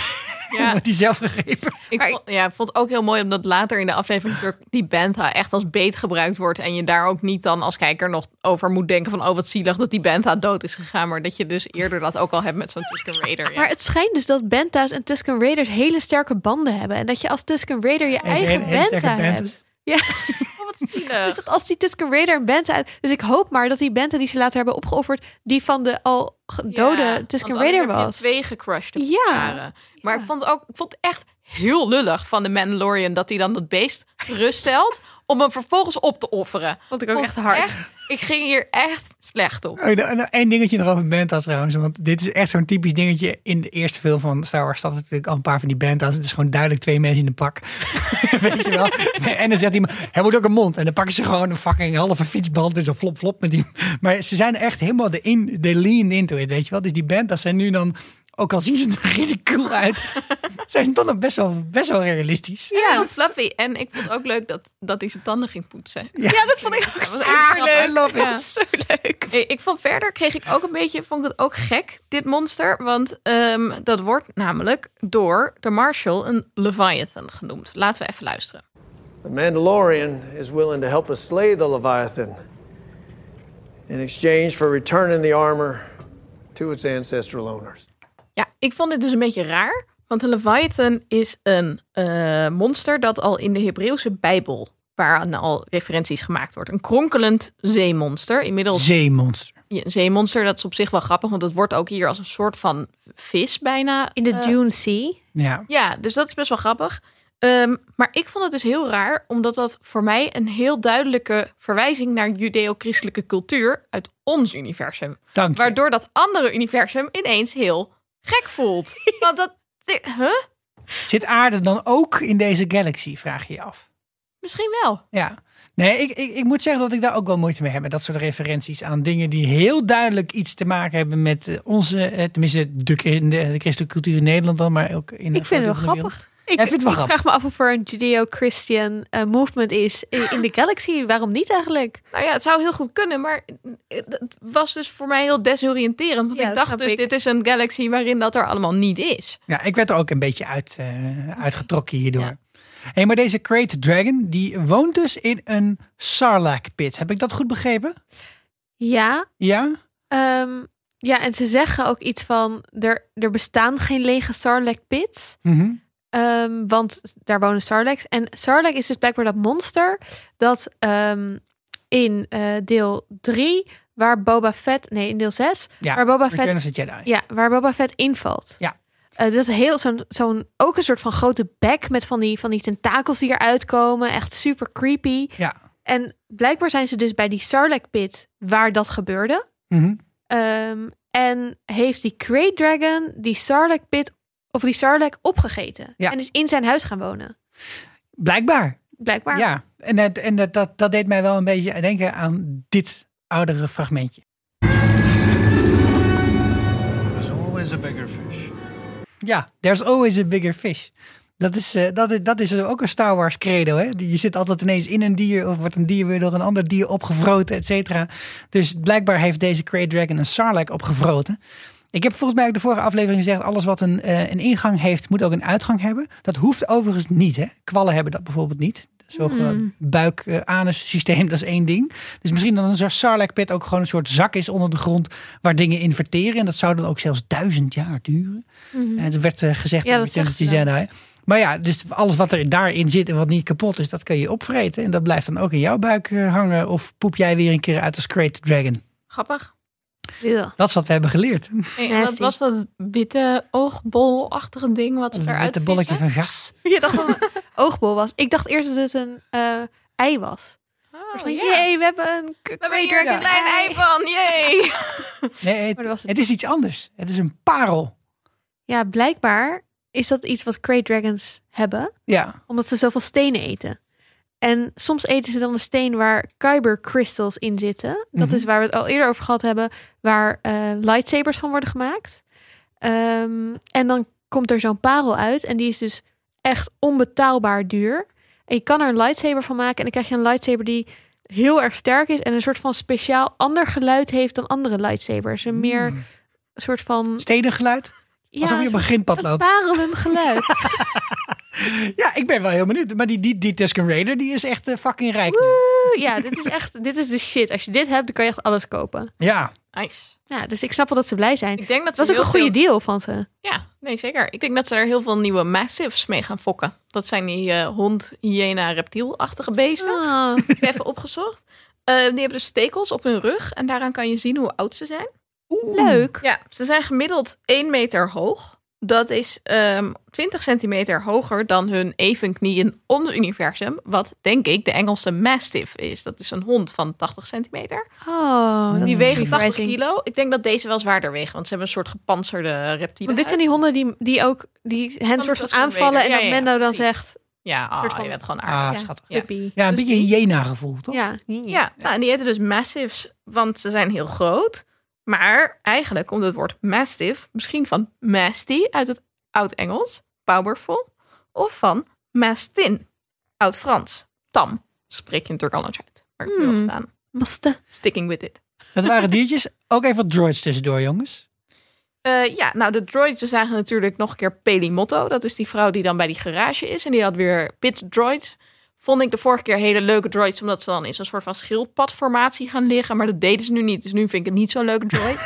Ja. [laughs] Wordt hij zelf gegrepen. Ik vond, ja, ik vond het ook heel mooi omdat later in de aflevering door die benta echt als beet gebruikt wordt. En je daar ook niet dan als kijker nog over moet denken van oh wat zielig dat die benta dood is gegaan. Maar dat je dus eerder dat ook al hebt met zo'n Tusken Raider. Ja. Maar het schijnt dus dat Benta's en Tusken Raiders hele sterke banden hebben. En dat je als Tusken Raider je eigen Hele- hele sterke Benta Banta's. hebt. Ja, [laughs] Oh, wat zielig. dus dat als die Tusken Raider een Benta uit... Dus ik hoop maar dat die Benta die ze later hebben opgeofferd... die van de al dode Ja, Tusken want anders Raider heb je was. Twee gecrushed. op Ja. elkaar. Maar ik vond het ook, ik vond het echt heel lullig van de Mandalorian dat hij dan dat beest geruststelt om hem vervolgens op te offeren. Vond ik ook echt hard. ik ging hier echt slecht op. Oh, nou, nou, één dingetje nog over Banta's trouwens. Want dit is echt zo'n typisch dingetje. In de eerste film van Star Wars zat er natuurlijk al een paar van die Banta's. Het is gewoon duidelijk twee mensen in een pak. [laughs] Weet je wel? En dan zegt iemand, hij moet ook een mond. En dan pakken ze gewoon een fucking halve fietsband. Dus een flop flop met die. Maar ze zijn echt helemaal de in, de lean into it, weet je wel? Dus die Banta's zijn nu dan... Ook al zien ze er ridicuul uit, [laughs] zijn ze toch nog best wel, best wel realistisch. Ja. Heel fluffy. En ik vond ook leuk dat, dat hij zijn tanden ging poetsen. Ja. dat vond ik ook was zo echt I grappig. love it. Ja. Zo leuk. Ik, ik vond verder kreeg ik ook een beetje, vond ik het ook gek, dit monster. Want ehm, dat wordt namelijk door de Marshall een Leviathan genoemd. Laten we even luisteren. The Mandalorian is willing to help us slay the Leviathan in exchange for returning the armor to its ancestral owners. Ja, ik vond dit dus een beetje raar. Want een Leviathan is een eh, monster dat al in de Hebreeuwse Bijbel, waar al referenties gemaakt wordt. Een kronkelend zeemonster. Inmiddels Zeemonster. Ja, een zeemonster, dat is op zich wel grappig, want dat wordt ook hier als een soort van vis bijna. In de eh, Dune Sea. Ja. Ja, dus dat is best wel grappig. Ehm, maar ik vond het dus heel raar, omdat dat voor mij een heel duidelijke verwijzing naar judeo-christelijke cultuur uit ons universum. Dank je. Waardoor dat andere universum ineens heel gek [laughs] voelt. Want dat. Huh? Zit aarde dan ook in deze galaxy, vraag je je af. Misschien wel. Ja. Nee, ik, ik, ik moet zeggen dat ik daar ook wel moeite mee heb. Met dat soort referenties aan dingen die heel duidelijk iets te maken hebben met eh, onze, eh, tenminste de, de, de christelijke cultuur in Nederland dan, maar ook in Ik vind het wel grote wereld. grappig. Ik, vindt het wel ik grappig. vraag me af of er een Judeo-Christian eh, movement is in, in de galaxy. Waarom niet eigenlijk? Nou ja, het zou heel goed kunnen, maar het was dus voor mij heel desoriënterend. Want Ja, ik dat dacht snap dus, ik. dit is een galaxy waarin dat er allemaal niet is. Ja, ik werd er ook een beetje uit, eh, uitgetrokken hierdoor. Ja. Hey, maar deze Great Dragon, die woont dus in een Sarlacc pit. Heb ik dat goed begrepen? Ja, Ja? ehm, ja, en ze zeggen ook iets van... er, er bestaan geen lege Sarlacc pits. Mhm. ehm, want daar wonen Sarlaccs. En Sarlacc is dus blijkbaar dat monster... dat ehm, in eh, deel 3, waar Boba Fett... Nee, in deel 6, Ja, waar Boba Fett Return of the Jedi. Ja, waar Boba Fett invalt. Ja. Eh, dat heel zo'n zo'n ook een soort van grote bek met van die, van die tentakels die eruit komen. Echt super creepy. Ja. En blijkbaar zijn ze dus bij die Sarlacc pit waar dat gebeurde. Mhm. Ehm, en heeft die Great Dragon die Sarlacc pit of die Sarlacc opgegeten. Ja. En is in zijn huis gaan wonen. Blijkbaar. Blijkbaar. Ja, en, het, en dat, dat, dat deed mij wel een beetje denken aan dit oudere fragmentje. There's always a bigger fish. Ja, there's always a bigger fish. Dat is, eh, dat is, dat is ook een Star Wars credo. Hè? Die- Je zit altijd ineens in een dier of wordt een dier weer door een ander dier opgevroten, et cetera. Dus blijkbaar heeft deze Great Dragon een Sarlacc opgevroten. Ik heb volgens mij ook de vorige aflevering gezegd, alles wat een, eh, een ingang heeft, moet ook een uitgang hebben. Dat hoeft overigens niet. Hè? Kwallen hebben dat eh, bijvoorbeeld niet. Zogenaamd buik-anus systeem, dat is één ding. Dus misschien dat een soort Sarlacc pit ook gewoon een soort zak is onder de grond waar dingen in verteren. En dat zou dan ook zelfs duizend jaar duren. Eh, dat werd eh, gezegd Mm. Ja, in dat Return of zegt the ze Jedi. Maar ja, dus alles wat er daarin zit en wat niet kapot is, dat kun je opvreten. En dat blijft dan ook in jouw buik eh, hangen. Of poep jij weer een keer uit als Great Dragon. Grappig. Ja. Dat is wat we hebben geleerd. Hey, en dat Nasty. was dat witte oogbolachtige ding [laughs] wat ze Dat eruit witte bolletje vissen? van gas. [laughs] Je dacht dat het een oogbol was. Ik dacht eerst dat het een eh, ei was. Oh, Van, ja. Jee, we hebben een We hebben hier een klein ei van, jee. Nee, het, Maar dat was het. het is iets anders. Het is een parel. Ja, blijkbaar is dat iets wat Great Dragons hebben, Ja. omdat ze zoveel stenen eten. En soms eten ze dan een steen waar kyber crystals in zitten. Dat Mhm. is waar we het al eerder over gehad hebben, waar eh, lightsabers van worden gemaakt. Ehm, en dan komt er zo'n parel uit en die is dus echt onbetaalbaar duur. En je kan er een lightsaber van maken en dan krijg je een lightsaber die heel erg sterk is en een soort van speciaal ander geluid heeft dan andere lightsabers. Een meer soort van Stedig geluid? ja, Mm. Alsof je op een soort- grindpad loopt. parelend geluid. [laughs] Ja, ik ben wel heel benieuwd. Maar die, die, die Tusken Raider die is echt eh, fucking rijk nu. Woe! ja, dit is echt, dit is de shit. Als je dit hebt, dan kan je echt alles kopen. Ja. [laughs] Nice. Ja, dus ik snap wel dat ze blij zijn. Ik denk dat Dat was ze ook een heel goede veel- deal van ze. Ja, nee zeker. Ik denk dat ze er heel veel nieuwe massives mee gaan fokken. Dat zijn die eh, hond, hyena, reptielachtige beesten. Ah, Ik heb even opgezocht. Eh, die hebben dus stekels op hun rug en daaraan kan je zien hoe oud ze zijn. leuk. Ja, ze zijn gemiddeld 1 meter hoog. Dat is ehm 20 centimeter hoger dan hun evenknieën om het universum. Wat denk ik de Engelse Mastiff is. Dat is een hond van 80 centimeter. [laughs] Oh, dat die is wegen 80 refreshing. kilo. Ik denk dat deze wel zwaarder wegen. Want ze hebben een soort gepantserde reptielen. Want dit zijn die honden die, die ook die hen de soort van Tusken aanvallen en Raider. dat Ja, ja, Mendo dan precies. zegt, Ja, ah, soort van- je bent gewoon aardig. Ah, Ja. schattig. Ja. puppy. Ja, een Dus beetje een die- hyena gevoel, toch? Ja. Ja, nou, en die heten dus massives, want ze zijn heel groot. Maar eigenlijk komt het woord mastiff misschien van masty uit het Oud-Engels, powerful, of van mastin, Oud-Frans, tam. Spreek je natuurlijk al eens uit. Maar ik heb het wel Hmm. gedaan. Maste. Sticking with it. Dat waren diertjes. Ook even wat droids tussendoor, jongens. Eh, ja, nou, de droids we zagen natuurlijk nog een keer Pelimotto. Dat is die vrouw die dan bij die garage is. En die had weer pit droids. Vond ik de vorige keer hele leuke droids, omdat ze dan in zo'n soort van schildpadformatie gaan liggen. Maar dat deden ze nu niet. Dus nu vind ik het niet zo'n leuke [laughs] droid.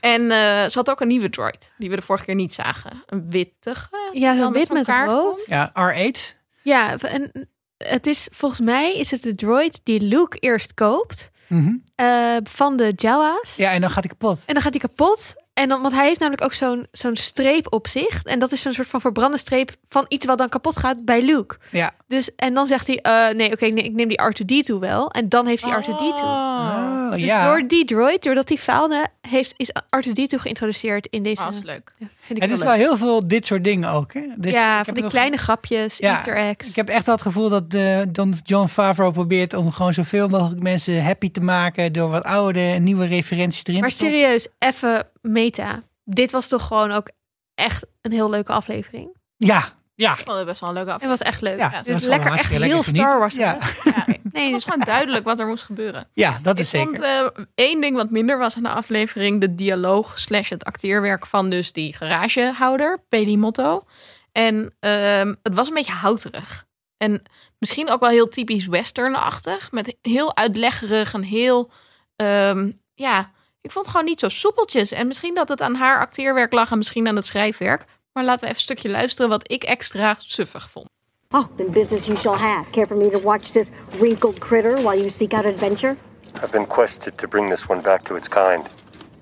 en eh, ze had ook een nieuwe droid, die we de vorige keer niet zagen. Een wittige. Ja, wel zo wit zo'n met kaartkont. rood. Ja, R8. Ja, en het is volgens mij is het de droid die Luke eerst koopt Mhm. eh, van de Jawa's. Ja, en dan gaat hij kapot. En dan gaat hij kapot. En dan, want hij heeft namelijk ook zo'n zo'n streep op zich. En dat is zo'n soort van verbrande streep van iets wat dan kapot gaat bij Luke. Ja. Dus, en dan zegt hij, eh, nee, oké, ik ne- ik neem die R2-D2 wel. En dan heeft hij R2-D2. Oh, Ah, Dus ja. door die droid, doordat hij faalde, heeft, is R2-D2 geïntroduceerd in deze... Ah, dat is leuk. Ja, vind ik Het is wel heel veel dit soort dingen ook. Hè? Dus ik ja, heb van het die wel- kleine grapjes, Ja, easter eggs. Ik heb echt wel het gevoel dat eh, Don John Favreau probeert om gewoon zoveel mogelijk mensen happy te maken door wat oude en nieuwe referenties erin Maar te stoppen. serieus, even meta. Dit was toch gewoon ook echt een heel leuke aflevering. Ja, ja. Ik vond het best wel een leuke Het aflevering. was echt leuk. Ja, dat dus was gewoon lekker, echt hartstikke heel lekker genieten. Star Wars. Ja. terug. Ja, Nee, het was gewoon duidelijk wat er moest gebeuren. [laughs] Ja, dat Ik is zeker. vond eh, één ding wat minder was in de aflevering de dialoog slash het acteerwerk van dus die garagehouder, Pelimotto. En ehm, het was een beetje houterig. En misschien ook wel heel typisch westernachtig. Met heel uitleggerig en heel... ehm, ja, ik vond het gewoon niet zo soepeltjes. En misschien dat het aan haar acteerwerk lag en misschien aan het schrijfwerk. Maar laten we even een stukje luisteren wat ik extra suffig vond. Oh, then business you shall have. Care for me to watch this wrinkled critter while you seek out adventure? [laughs] I've been quested to bring this one back to its kind.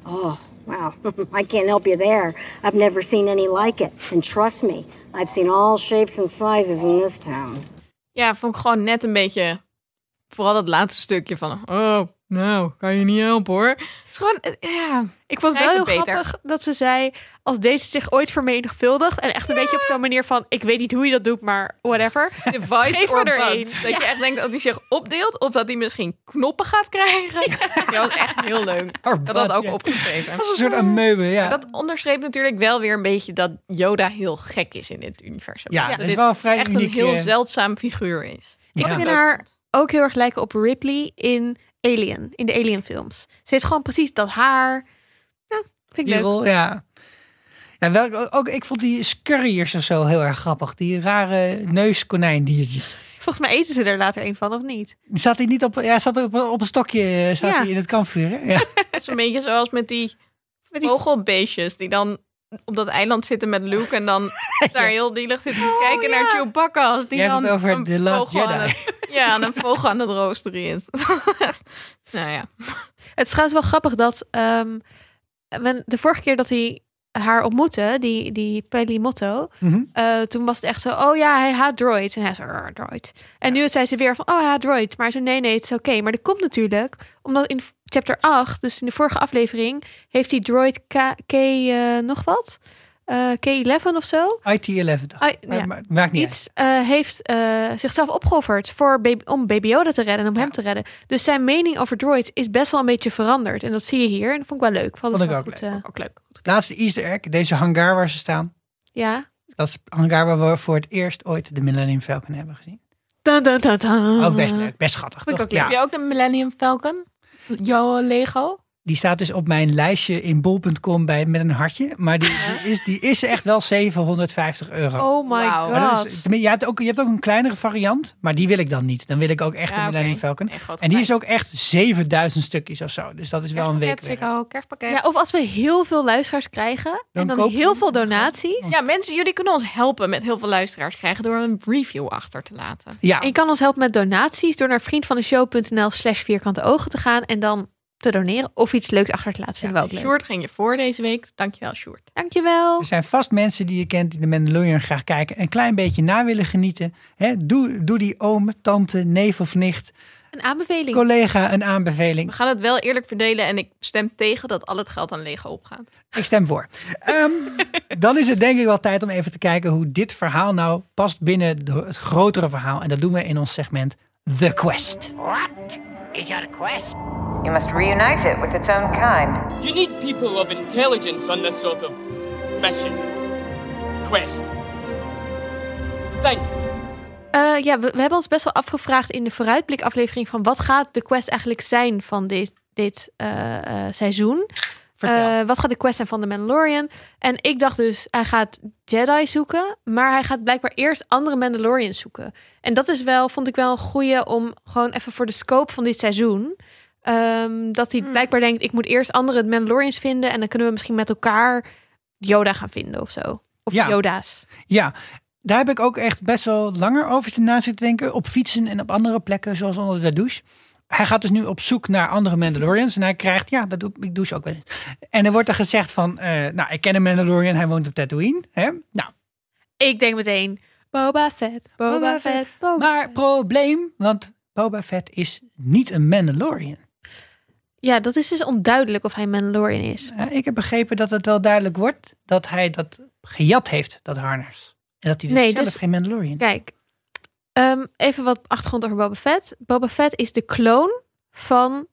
Oh, wow. I can't help you there. I've never seen any like it. And trust me, I've seen all shapes and sizes in this town. Ja, vond ik gewoon net een beetje. Vooral dat laatste stukje van. Oh, nou, kan je niet helpen hoor. Het is gewoon. eh, Ja. Ik vond het wel Schrijf heel het beter. grappig dat ze zei, als deze zich ooit vermenigvuldigt, en echt een beetje op zo'n manier van, ik weet niet hoe je dat doet, maar [laughs] whatever. De vibes Geef me or er buds. één. Dat je echt denkt dat hij zich opdeelt. Of dat hij misschien knoppen gaat krijgen. Dat was echt heel leuk. [laughs] Or Ik had dat buds, ook ja. opgeschreven. Dat is een soort amoebe, ja. Dat onderschreef natuurlijk wel weer een beetje dat Yoda heel gek is in dit universum. Ja, Dat dat is dit wel een vrij echt uniek, een heel eh, zeldzaam figuur is. Ja. Ik nou Wat vind leuk haar vond. ook heel erg lijken op Ripley in Alien, in de Alien films. Ze heeft gewoon precies dat haar. Ja, vind ik Die leuk. rol, ja. Ja, wel, ook, ik vond die scurriers of zo heel erg grappig. Die rare neuskonijndiertjes. Volgens mij eten ze er later een van, of niet? Zat hij niet op, ja, zat op, op een stokje eh, zat Ja. hij in het kampvuur? Hè? [laughs] Ja. Het is een beetje zoals met die Met die- vogelbeestjes die dan op dat eiland zitten met Luke en [laughs] dan daar heel dielig zitten te kijken naar Oh, ja. Chewbacca als die Jij hebt dan het over een The Last vogel aan Jedi. het- ja, en een vogel aan het roosteren is. [laughs] nou ja, Het is trouwens wel grappig dat ehm, men- de vorige keer dat hij haar ontmoette, die, die Pelimotto, Mhm. eh, toen was het echt zo, oh ja, hij haat droids. En hij zo, "Rrr, droid. En nu zei ze weer van, oh, hij haat droids. Maar zo, nee, nee, het is oké. Maar dat komt natuurlijk, omdat in chapter 8, dus in de vorige aflevering, heeft die droid K, K eh, nog wat? eh, K11 of zo. IT-11, Ah, dacht ik. I- Maar- ja. maar maakt niet Iets eh, heeft eh, zichzelf opgeofferd voor baby, om Baby Yoda te redden en om hem te redden. Dus zijn mening over droids is best wel een beetje veranderd. En dat zie je hier. En dat vond ik wel leuk. Vond, Vond ik wel ook goed, leuk. eh, Ook leuk. uit. Laatste Easter egg, deze hangar waar ze staan. ja. Dat is een hangar waar we voor het eerst ooit de Millennium Falcon hebben gezien. Dun, dun, dun, dun. Ook best leuk, best schattig. Mhm. Vond Toch? ik ook leuk. Ja, Heb je ook de Millennium Falcon? Jouw Lego? die staat dus op mijn lijstje in bol.com bij, met een hartje. Maar die, [laughs] die is, die is echt wel 750 euro. Oh my Wauw. Maar dat god. is- tenminste, je, hebt ook, je hebt ook een kleinere variant, maar die wil ik dan niet. Dan wil ik ook echt Ja, een Millennium oké. Falcon. Nee, grote en die prijs. is ook echt 7000 stukjes of zo. Dus dat is wel een week. Kerstpakket, Sikko, oh, kerstpakket. Ja, Ja, of als we heel veel luisteraars krijgen Dan en dan koop je heel hem. veel donaties. mensen, jullie kunnen ons helpen met heel veel luisteraars krijgen door een review achter te laten. Ja, En je kan ons helpen met donaties door naar vriendvandeshow.nl slash vierkante ogen te gaan en dan te doneren of iets leuks achter te laten. Vinden we ook leuk. Sjoerd ging je voor deze week. Dankjewel, Sjoerd. Dankjewel. er zijn vast mensen die je kent die de Mandalorian graag kijken. Een klein beetje na willen genieten. Hè, doe, doe die oom, tante, neef of nicht, Een aanbeveling. collega een aanbeveling. We gaan het wel eerlijk verdelen en ik stem tegen dat al het geld aan Lego opgaat. Ik stem voor. Ehm, dan is het denk ik wel tijd om even te kijken hoe dit verhaal nou past binnen de- het grotere verhaal. En dat doen we in ons segment The Quest. What is your quest? You must reunite it with its own kind. You need people of intelligence on this sort of mission. Quest. Thank Eh, ja, we, we hebben ons best wel afgevraagd in de vooruitblik aflevering van wat gaat de quest eigenlijk zijn van dit, dit eh, eh, seizoen. Vertel. Eh, wat gaat de quest zijn van de Mandalorian? En ik dacht dus, hij gaat Jedi zoeken, maar hij gaat blijkbaar eerst andere Mandalorians zoeken. En dat is wel, vond ik wel een goeie om gewoon even voor de scope van dit seizoen. ehm, dat Hmm. hij blijkbaar denkt, ik moet eerst andere Mandalorians vinden en dan kunnen we misschien met elkaar Yoda gaan vinden of zo. Of Ja. Yoda's. Ja, daar heb ik ook echt best wel langer over zitten na zitten denken. Op fietsen en op andere plekken, zoals onder de douche. Hij gaat dus nu op zoek naar andere Mandalorians. En hij krijgt, ja, dat doe ik, ik douche ook wel eens. En er wordt er gezegd van, eh, nou, ik ken een Mandalorian, hij woont op Tatooine. Hè? Nou, Ik denk meteen, Boba Fett, Boba, Fett, Boba maar probleem, want Boba Fett is niet een Mandalorian. Ja, dat is dus onduidelijk of hij Mandalorian is. Eh, ik heb begrepen dat het wel duidelijk wordt dat hij dat gejat heeft, dat harnas. En dat hij dus Nee, zelf dus- geen Mandalorian is. Kijk, ehm, even wat achtergrond over Boba Fett. Boba Fett is de kloon van...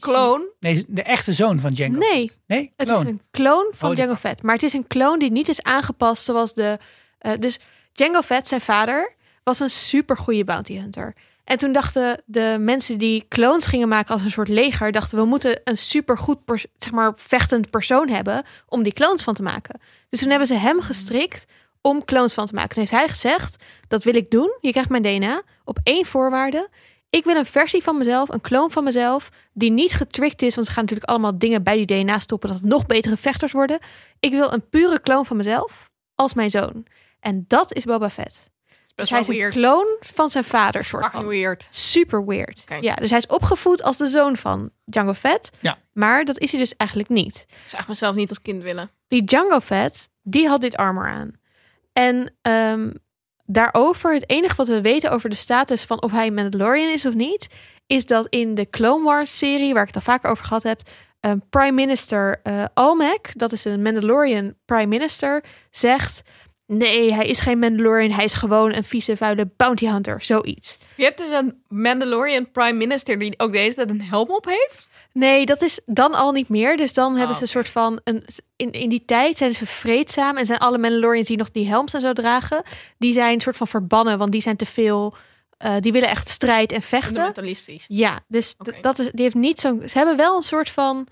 Kloon. Nee, de echte zoon van Jango. Nee, Nee, het kloon. is een kloon van Oh, die Jango Fett. Maar het is een kloon die niet is aangepast zoals de... eh, dus Jango Fett, zijn vader, was een supergoeie bounty hunter. En toen dachten de mensen die kloons gingen maken als een soort leger... dachten we moeten een supergoed, pers- zeg maar, vechtend persoon hebben... om die kloons van te maken. Dus toen hebben ze Hmm. hem gestrikt om kloons van te maken. Toen heeft hij gezegd, dat wil ik doen. Je krijgt mijn DNA op één voorwaarde. Ik wil een versie van mezelf, een kloon van mezelf... die niet getricked is, want ze gaan natuurlijk allemaal dingen bij die DNA stoppen... dat het nog betere vechters worden. Ik wil een pure kloon van mezelf als mijn zoon. En dat is Boba Fett. Dus Best hij wel is een weird. kloon van zijn vader, soort Fucking van. weird. Super weird. Oké. Ja, dus hij is opgevoed als de zoon van Django Fett. Ja. Maar dat is hij dus eigenlijk niet Ik zag mezelf niet als kind willen. die Django Fett, die had dit armor aan. En ehm, daarover, het enige wat we weten over de status van of hij Mandalorian is of niet, is dat in de Clone Wars serie, waar ik het al vaker over gehad heb, ehm, Prime Minister eh Almec, dat is een Mandalorian Prime Minister, zegt: Nee, hij is geen Mandalorian, hij is gewoon een vieze, vuile bounty hunter, zoiets. Je hebt dus een Mandalorian prime minister die ook de hele tijd een helm op heeft. Nee, dat is dan al niet meer. Dus dan hebben ze Ah, oké. een soort van. Een, in, in die tijd zijn ze vreedzaam. En zijn alle Mandalorians die nog die helms en zo dragen. Die zijn een soort van verbannen. Want die zijn te veel. eh, die willen echt strijd en vechten. Fundamentalistisch. Ja, dus d- Oké. dat is, die heeft niet zo'n. Ze hebben wel een soort van.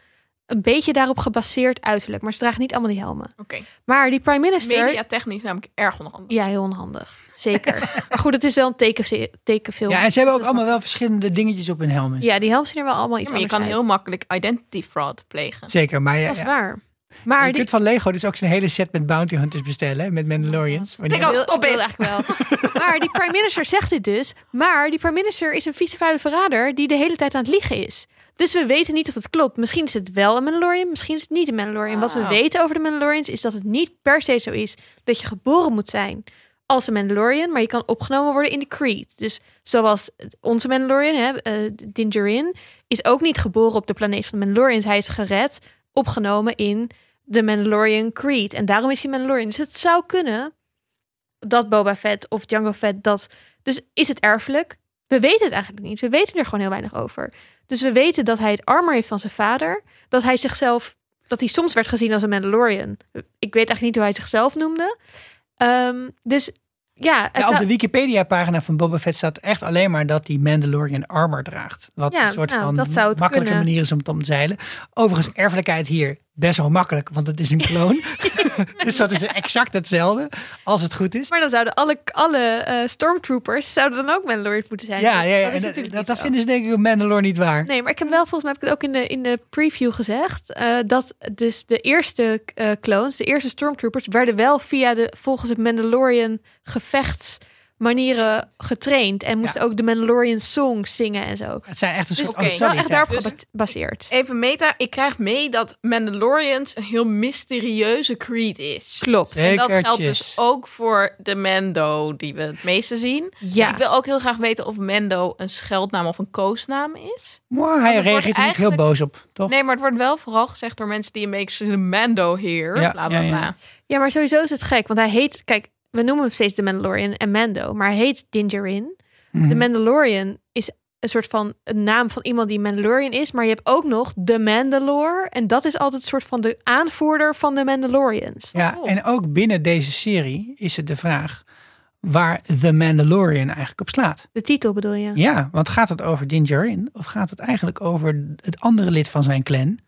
Een beetje daarop gebaseerd uiterlijk. Maar ze dragen niet allemaal die helmen. Oké. Maar die prime minister. Media technisch namelijk erg onhandig. Ja, heel onhandig. [laughs] Zeker. maar goed, het is wel een teken, tekenfilm. Ja, en ze hebben ook Dus dat allemaal wel verschillende dingetjes op hun helm. en zo. is- Ja, die helms zien er wel allemaal Ja, iets maar je kan anders heel uit. makkelijk identity fraud plegen. Zeker, maar ja, Dat is ja. waar. Maar je die- kunt van Lego dus ook zijn hele set met bounty hunters bestellen, hè, met Mandalorians. Maar die Ik ook. wil- stop ik it. wil eigenlijk [laughs] wel. Maar die prime minister zegt dit dus. Maar die prime minister is een vieze vuile verrader die de hele tijd aan het liegen is. Dus we weten niet of het klopt. Misschien is het wel een Mandalorian, misschien is het niet een Mandalorian. Wat we Ah. weten over de Mandalorians is dat het niet per se zo is dat je geboren moet zijn als een Mandalorian, maar je kan opgenomen worden in de Creed. Dus zoals onze Mandalorian, hè, eh, Din Djarin, is ook niet geboren op de planeet van de Mandalorians. Hij is gered, opgenomen in de Mandalorian Creed. En daarom is hij Mandalorian. Dus het zou kunnen dat Boba Fett of Django Fett dat... Dus is het erfelijk? We weten het eigenlijk niet. We weten er gewoon heel weinig over. Dus we weten dat hij het armor heeft van zijn vader. Dat hij zichzelf... Dat hij soms werd gezien als een Mandalorian. Ik weet eigenlijk niet hoe hij zichzelf noemde. Um, dus ja, ja, op de Wikipedia-pagina van Boba Fett staat echt alleen maar dat hij Mandalorian armor draagt. Wat Ja, een soort nou, van dat zou het makkelijke kunnen. manier is om het om te zeilen. Overigens, erfelijkheid hier best wel makkelijk, want het is een [laughs] kloon. [laughs] dus dat is exact hetzelfde, als het goed is. Maar dan zouden alle, alle eh, stormtroopers zouden dan ook Mandalorian moeten zijn. ja, ja, ja. is en dat, natuurlijk dat, niet zo. vinden ze denk ik op Mandalore niet waar. Nee, maar ik heb wel volgens mij heb ik het ook in de, in de preview gezegd. eh, dat dus de eerste eh clones, de eerste stormtroopers, werden wel via de volgens het Mandalorian gevechtsmanieren getraind. En moesten ook de Mandalorian song zingen en zo. Het zijn echt een soort dus het is wel echt authoriteiten. daarop Dus- gebaseerd. Even meta, ik krijg mee dat Mandalorians een heel mysterieuze creed is. Klopt. En dat geldt Zekertjes. dus ook voor de Mando die we het meeste zien. Ja. Ik wil ook heel graag weten of Mando een scheldnaam of een koosnaam is. Maar hij het wordt reageert er niet heel eigenlijk- boos op, toch? Nee, maar het wordt wel vooral gezegd door mensen die een beetje Mando here. Ja, bla ja, bla ja. bla. Ja, maar sowieso is het gek, want hij heet, kijk, we noemen hem steeds de Mandalorian en Mando, maar hij heet Dingerin. Mhm. De Mandalorian is een soort van een naam van iemand die Mandalorian is, maar je hebt ook nog de Mandalore en dat is altijd een soort van de aanvoerder van de Mandalorians. Ja, en ook binnen deze serie is het de vraag waar The Mandalorian eigenlijk op slaat. De titel bedoel je? Ja, want gaat het over Din Djarin of gaat het eigenlijk over het andere lid van zijn clan,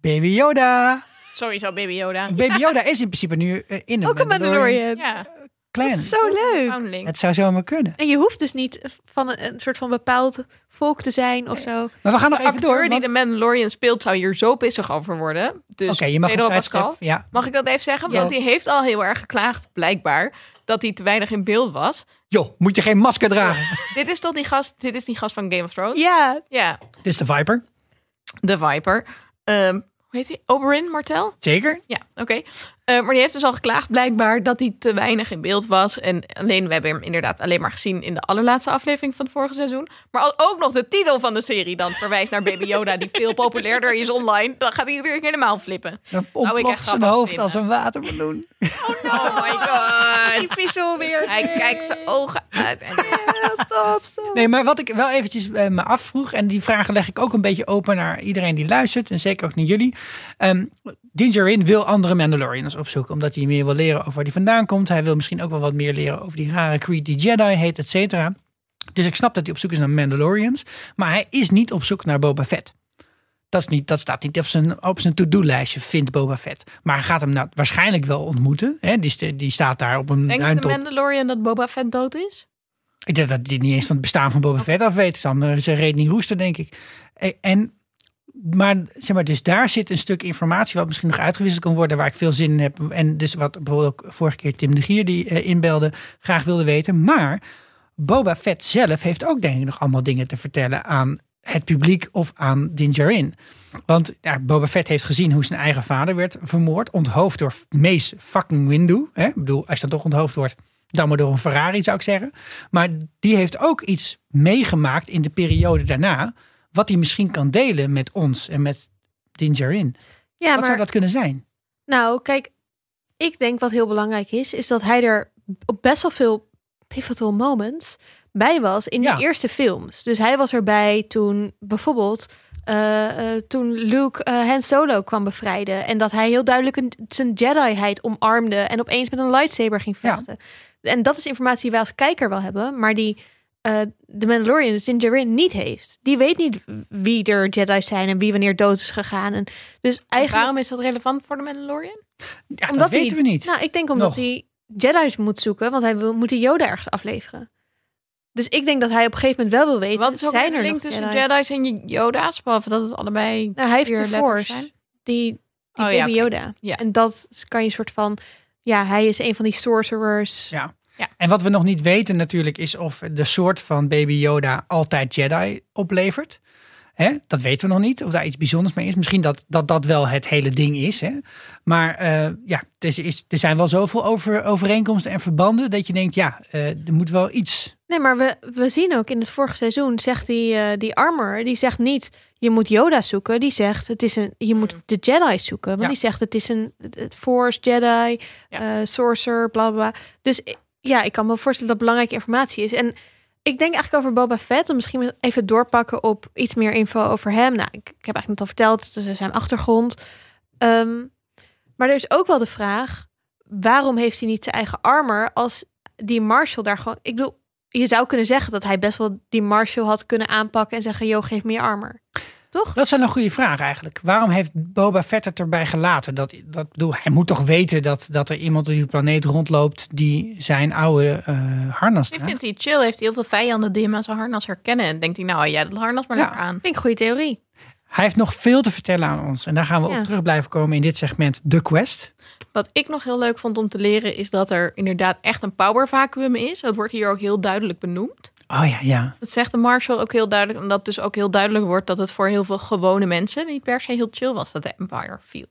Baby Yoda? Sowieso Baby Yoda. Baby Yoda is in principe nu eh, in de Ook een Mandalorian. Ja, clan. Dat is zo leuk. Foundling. Het zou zomaar kunnen. En je hoeft dus niet van een, een soort van bepaald volk te zijn of zo. Maar we gaan nog de even acteur door. die want- de Mandalorian speelt zou hier zo pissig over worden. Dus Oké, je mag Pedro een sidestep, Pascal. ja. Mag ik dat even zeggen? Ja. Want die heeft al heel erg geklaagd, blijkbaar, dat hij te weinig in beeld was. Joh, moet je geen masker dragen? dit is toch die gast, dit is die gast van Game of Thrones? Ja, Ja, Dit is de Viper. de Viper. Ehm, hoe heet hij? Oberyn Martel? Zeker. Ja, oké. Eh, maar die heeft dus al geklaagd, blijkbaar, dat hij te weinig in beeld was. En alleen, we hebben hem inderdaad alleen maar gezien in de allerlaatste aflevering van het vorige seizoen. Maar als ook nog de titel van de serie dan verwijst naar Baby Yoda, die veel populairder is online. Dan gaat hij natuurlijk helemaal flippen. Dan Nou, ik ontploft echt zijn grappig hoofd vinden. als een watermeloen. Oh my god. die visual weer. Hij kijkt zijn ogen uit. En... Stop, stop. Nee, maar wat ik wel eventjes eh, me afvroeg, en die vragen leg ik ook een beetje open naar iedereen die luistert, en zeker ook naar jullie. Ehm Din Djarin wil andere Mandalorians opzoeken, omdat hij meer wil leren over waar die vandaan komt. Hij wil misschien ook wel wat meer leren over die rare Creed die Jedi heet, et cetera. Dus ik snap dat hij op zoek is naar Mandalorians, maar hij is niet op zoek naar Boba Fett. Dat, is niet, dat staat niet op zijn, op zijn to-do-lijstje, vindt Boba Fett. Maar hij gaat hem nou waarschijnlijk wel ontmoeten. Hè? Die, st- die staat daar op een Denkt de duintop. Mandalorian dat Boba Fett dood is? Ik denk dat hij niet eens van het bestaan van Boba Fett af weet. Sander zijn reet niet roesten, denk ik. E- En, maar, zeg maar, dus daar zit een stuk informatie wat misschien nog uitgewisseld kan worden, waar ik veel zin in heb. En dus wat bijvoorbeeld ook vorige keer Tim de Gier die eh, inbelde, graag wilde weten. Maar Boba Fett zelf heeft ook denk ik nog allemaal dingen te vertellen aan het publiek of aan Din Djarin. Want ja, Boba Fett heeft gezien hoe zijn eigen vader werd vermoord. Onthoofd door Mace fucking Windu. Hè? Ik bedoel, als je dan toch onthoofd wordt, dan maar door een Ferrari zou ik zeggen. Maar die heeft ook iets meegemaakt in de periode daarna. Wat hij misschien kan delen met ons en met Din Djarin. Ja, wat maar zou dat kunnen zijn? Nou, kijk, ik denk wat heel belangrijk is, is dat hij er op best wel veel pivotal moments bij was in Ja. de eerste films. Dus hij was erbij toen bijvoorbeeld eh, eh, toen Luke eh Han Solo kwam bevrijden en dat hij heel duidelijk een, zijn Jedi-heid omarmde en opeens met een lightsaber ging Ja. vechten. En dat is informatie die wij als kijker wel hebben, maar die eh, de Mandalorian, dus Din Djarin, niet heeft. Die weet niet wie er Jedi's zijn en wie wanneer dood is gegaan. En dus eigenlijk Waarom is dat relevant voor de Mandalorian? Ja, omdat dat weten hij- we niet. Nou, ik denk omdat Nog. hij Jedi's moet zoeken, want hij wil, moet die Yoda ergens afleveren. Dus ik denk dat hij op een gegeven moment wel wil weten. Wat is ook zijn de er link nog tussen Jedi's? Jedi's en Yoda's? Behalve dat het allebei Nou, hij heeft de vier letters Force, zijn. die, die Oh baby ja, oké. Yoda. Ja. En dat kan je soort van, ja, hij is een van die sorcerers. Ja. Ja. En wat we nog niet weten natuurlijk is of de soort van Baby Yoda altijd Jedi oplevert. Hè, Hè? Dat weten we nog niet. Of daar iets bijzonders mee is. Misschien dat dat, dat wel het hele ding is. Hè? Maar eh, ja, er, is, er zijn wel zoveel over, overeenkomsten en verbanden. dat je denkt, ja, eh, er moet wel iets. Nee, maar we, we zien ook in het vorige seizoen, zegt die, eh, die armor, die zegt niet, je moet Yoda zoeken. Die zegt, het is een, je moet de Jedi zoeken. Want Ja. die zegt, het is een het- het Force, Jedi, eh, Sorcerer, bla bla. bla. Dus ik- ja, ik kan me voorstellen dat belangrijke informatie is. En ik denk eigenlijk over Boba Fett, om misschien even doorpakken op iets meer info over hem. Nou, ik, ik heb eigenlijk net al verteld, dus zijn achtergrond. Ehm, maar er is ook wel de vraag, waarom heeft hij niet zijn eigen armor als die Marshall daar gewoon... Ik bedoel, je zou kunnen zeggen dat hij best wel die Marshall had kunnen aanpakken en zeggen, yo, geef me je armor. Toch? Dat is wel een goede vraag eigenlijk. Waarom heeft Boba Fett het erbij gelaten? Dat, dat, bedoel, hij moet toch weten dat, dat er iemand op die planeet rondloopt die zijn oude eh, harnas Ik draagt. vind hij chill. Heeft hij heel veel vijanden die hem aan zijn harnas herkennen. En denkt hij, nou jij dat harnas maar Ja. lekker aan. Vind ik een goede theorie. Hij heeft nog veel te vertellen aan ons. En daar gaan we Ja. op terug blijven komen in dit segment The Quest. Wat ik nog heel leuk vond om te leren is dat er inderdaad echt een power vacuüm is. Dat wordt hier ook heel duidelijk benoemd. Oh ja, ja. Dat zegt de Marshall ook heel duidelijk. En dat dus ook heel duidelijk wordt dat het voor heel veel gewone mensen niet per se heel chill was dat de Empire viel.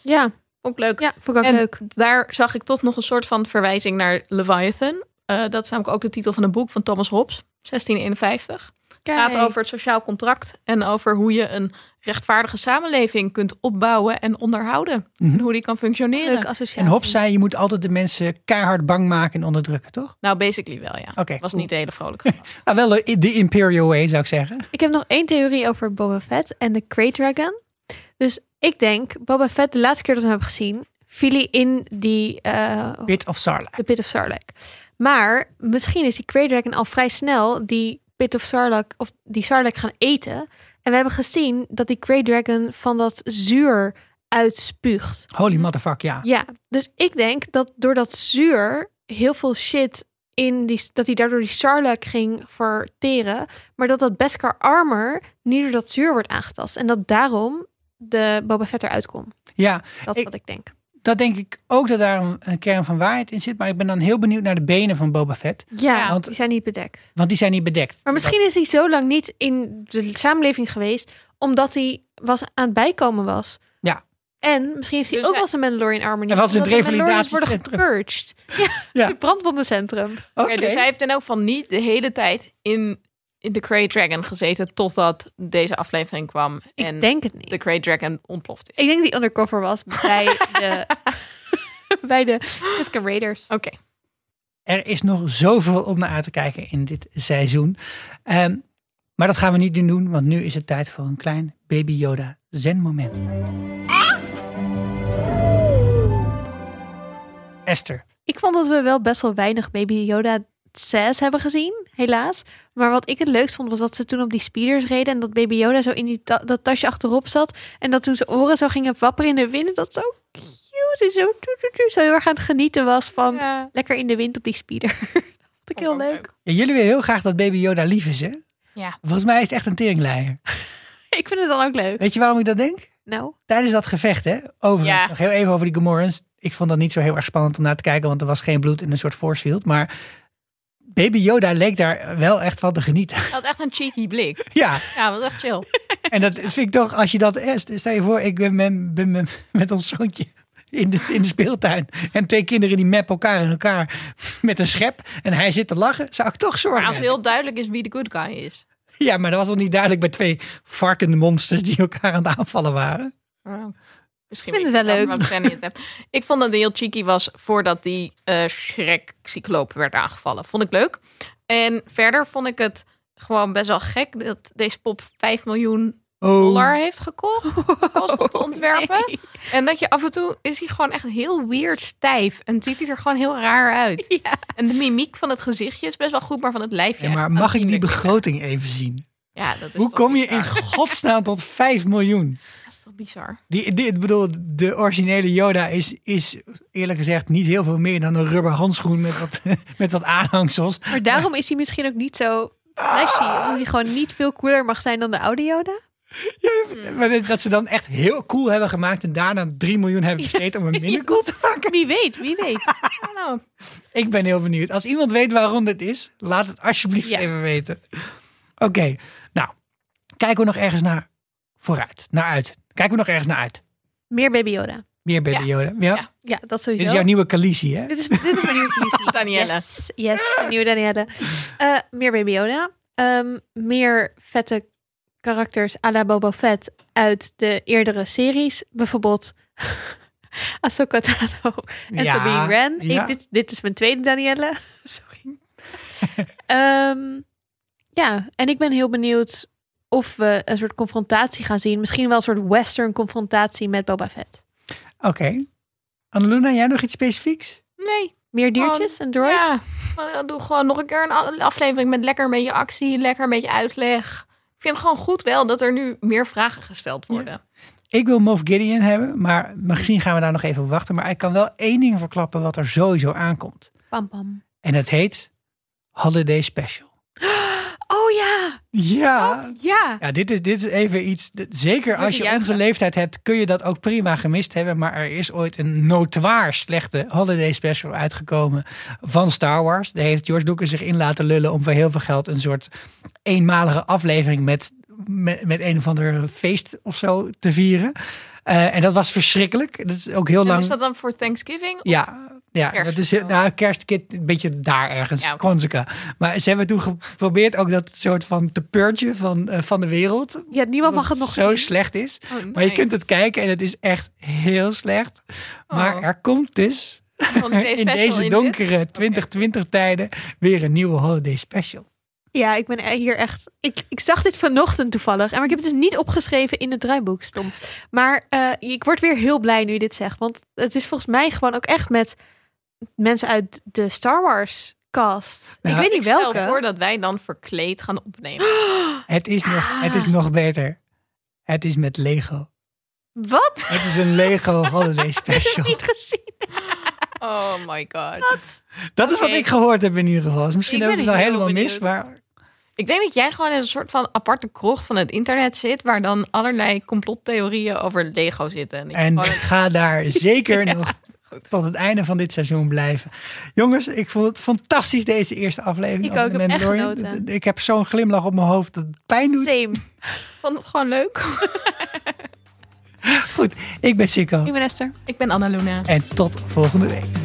Ja, Vond ik leuk. ja vond ik ook en leuk. daar zag ik toch nog een soort van verwijzing naar Leviathan. Eh, dat is namelijk ook de titel van een boek van Thomas Hobbes, 1651. Het Kijk. gaat over het sociaal contract en over hoe je een rechtvaardige samenleving kunt opbouwen en onderhouden. Mhm. En hoe die kan functioneren. Leuke associatie. En Hobbes zei, je moet altijd de mensen keihard bang maken en onderdrukken, toch? Nou, basically wel, ja. Oké, was cool. niet de hele vrolijke. gast. Nou, wel de de Imperial Way, zou ik zeggen. Ik heb nog één theorie over Boba Fett en de Krayt Dragon. Dus ik denk, Boba Fett, de laatste keer dat we hem hebben gezien, viel hij in die, eh, Bit of Sarlacc. de Pit of Sarlacc. Maar misschien is die Krayt Dragon al vrij snel die Pit of Sarlacc, of die Sarlacc gaan eten. En we hebben gezien dat die Krayt Dragon van dat zuur uitspuugt. Holy motherfuck, ja. Ja, dus ik denk dat door dat zuur heel veel shit in die, dat hij daardoor die Sarlacc ging verteren, maar dat dat Beskar armor niet door dat zuur wordt aangetast en dat daarom de Boba Fett eruit komt. Ja, Dat is Ik- wat ik denk. dat denk ik ook dat daar een- een kern van waarheid in zit. Maar ik ben dan heel benieuwd naar de benen van Boba Fett. Ja, want- die zijn niet bedekt. Want die zijn niet bedekt. Maar misschien is hij zo lang niet in de samenleving geweest omdat hij was aan het bijkomen was. Ja. En misschien heeft hij Dus ook hij- wel zijn Mandalorian armor niet. Hij was in het omdat de Mandalorians revalidatiecentrum. worden gepurged. Ja, [laughs] Ja. het brandwondencentrum. Oké. Ja, dus hij heeft dan ook van niet de hele tijd in, in de Grey Dragon gezeten totdat deze aflevering kwam. Ik en denk het niet. de Grey Dragon ontploft is. Ik denk die undercover was bij [laughs] de, bij de Tusker Raiders. Oké. Er is nog zoveel om naar uit te kijken in dit seizoen. Ehm, maar dat gaan we niet doen, want nu is het tijd voor een klein Baby Yoda zen-moment. Esther, Ik vond dat we wel best wel weinig Baby Yoda 6 hebben gezien, helaas. Maar wat ik het leukst vond, was dat ze toen op die speeders reden... en dat Baby Yoda zo in die ta- dat tasje achterop zat... en dat toen zijn oren zo gingen wapperen in de wind. Dat zo cute en zo, toet, toet, toet, zo heel erg aan het genieten was van... Ja. lekker in de wind op die speeder. [laughs] dat vond ik heel ook leuk. leuk. ja, jullie willen heel graag dat Baby Yoda lief is, hè? Ja. Volgens mij is het echt een teringleier. Ik vind het dan ook leuk. Weet je waarom ik dat denk? Nou, Tijdens dat gevecht, hè? Overigens, Ja. nog heel even over die Gamorans. Ik vond dat niet zo heel erg spannend om naar te kijken, want er was geen bloed en een soort force field. Maar Baby Yoda leek daar wel echt van te genieten. [laughs] Hij had echt een cheeky blik. ja. Ja, dat was echt chill. En dat vind ik toch, als je dat. eh, Stel je voor, ik ben, met- ben met- met ons zoontje in de, in de speeltuin. En twee kinderen die meppen elkaar in elkaar met een schep. En hij zit te lachen. Zou ik toch zorgen? Maar als heel duidelijk is wie de good guy is. Ja, maar dat was toch niet duidelijk bij twee varkende monsters die elkaar aan het aanvallen waren. Wow. Oh, Misschien Ik vind weet het wel je leuk. waarom ik daar niet heb. Ik vond dat hij heel cheeky was voordat die eh Shrek-cycloop werd aangevallen. Vond ik leuk. En verder vond ik het gewoon best wel gek dat deze pop 5 miljoen Oh. dollar heeft gekocht. [laughs] Kost om te ontwerpen. Oh, nee. En dat je af en toe is hij gewoon echt heel weird stijf. En ziet hij er gewoon heel raar uit. Ja. En de mimiek van het gezichtje is best wel goed, maar van het lijfje. Ja, maar echt mag ik die aanzienlijk. begroting even zien? Ja, dat is Hoe toch kom je in bizar. godsnaam tot 5 miljoen? Dat is toch bizar. Die, die, ik bedoel, de originele Yoda is, is eerlijk gezegd niet heel veel meer dan een rubber handschoen met wat, [laughs] met wat aanhangsels. maar daarom is hij misschien ook niet zo... Flashy, omdat hij gewoon niet veel cooler mag zijn dan de oude Yoda. [laughs] Maar dit- dat ze dan echt heel cool hebben gemaakt en daarna 3 miljoen hebben besteed [laughs] om hem minder cool te maken. Wie weet, wie weet. Hallo. Ik ben heel benieuwd. Als iemand weet waarom dit is, laat het alsjeblieft Ja. even weten. Oké, nou. Kijken we nog ergens naar vooruit, naar uit? Kijken we nog ergens naar uit? Meer Baby Yoda. Meer Baby Ja. Yoda, ja? Ja. Ja, dat sowieso. Dit is [laughs] jouw nieuwe Khaleesi, hè? Dit is, dit is mijn nieuwe [laughs] politie. Danielle. Yes, yes mijn nieuwe Danielle. Eh, meer Baby Yoda. Ehm, meer vette karakters à la Boba Fett uit de eerdere series. Bijvoorbeeld [laughs] Ahsoka Tano en Ja, Sabine Wren. ja. Ik- dit, dit is mijn tweede Danielle. [laughs] [laughs] Sorry. Ehm, ja, en ik ben heel benieuwd of we een soort confrontatie gaan zien. Misschien wel een soort western confrontatie met Boba Fett. Oké. Anneluna, jij nog iets specifieks? Nee. Meer Oh, diertjes en droids? Oh, Ja, maar eh, doe gewoon nog een keer een a- aflevering met lekker een beetje actie, lekker een beetje uitleg. Ik vind gewoon goed wel dat er nu meer vragen gesteld worden. Ik wil Moff Gideon hebben, maar misschien gaan we daar nog even op wachten. Maar ik kan wel één ding verklappen wat er sowieso aankomt. Pam pam. En het heet Holiday Special. Oh ja, Ja. ja. Ja, dit is, dit is even iets. d- Zeker wil als je juichen. onze leeftijd hebt, kun je dat ook prima gemist hebben. Maar er is ooit een notoir slechte holiday special uitgekomen van Star Wars. Daar heeft George Lucas zich in laten lullen om voor heel veel geld een soort eenmalige aflevering met, met, met een of ander feest of zo te vieren. Eh, en dat was verschrikkelijk. Dat is ook heel En lang. is dus dat dan voor Thanksgiving? Of- Ja, ja Kerst dat of is zo. nou, kerstkit een beetje daar ergens, Ja, ja, oké. Maar ze hebben toen geprobeerd ook dat soort van te purgen van, eh, van de wereld. Ja, niemand mag Omdat het nog zo zien. slecht is. Oh, nice. Maar je kunt het kijken en het is echt heel slecht. Maar Oh. er komt dus Holiday in special deze in donkere 2020 tijden weer een nieuwe holiday special. Ja, ik ben e- hier echt. Ik, ik zag dit vanochtend toevallig. En maar ik heb het dus niet opgeschreven in het draaiboek, stom. Maar eh, ik word weer heel blij nu je dit zegt. Want het is volgens mij gewoon ook echt met mensen uit de Star Wars cast. Ja. ik weet niet Ik stel welke. voor dat wij dan verkleed gaan [gasps] opnemen. Het is, Ah. nog, het is nog beter. Het is met Lego. Wat? Het is een Lego [laughs] holiday special. niet gezien. Oh my god. Dat is wat Oké. ik gehoord heb in ieder geval. Dus Misschien Ik heb ik ben het wel heel helemaal mis, benieuwd. maar Ik denk dat jij gewoon in een soort van aparte krocht van het internet zit, waar dan allerlei complottheorieën over Lego zitten. En, ik En gewoon- ga [laughs] daar zeker nog tot het einde van dit seizoen blijven. Jongens, ik vond het fantastisch deze eerste aflevering. Ik over ook, The ik heb echt Mandalorian. genoten. D- Ik heb zo'n glimlach op mijn hoofd dat het pijn doet. Same. vond het gewoon leuk. [laughs] Goed, ik ben Sikko Ik ben Esther. ik ben Anna Luna. en tot volgende week.